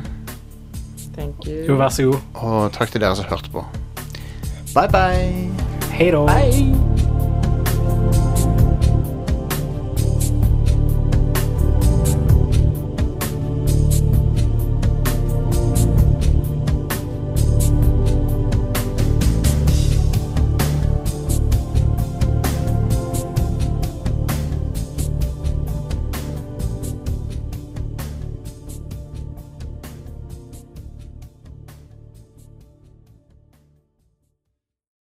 [SPEAKER 3] Thank you.
[SPEAKER 2] Jo, vær så god.
[SPEAKER 1] og takk til dere som hørte på. Bye, bye.
[SPEAKER 2] Hei da.
[SPEAKER 3] Bye.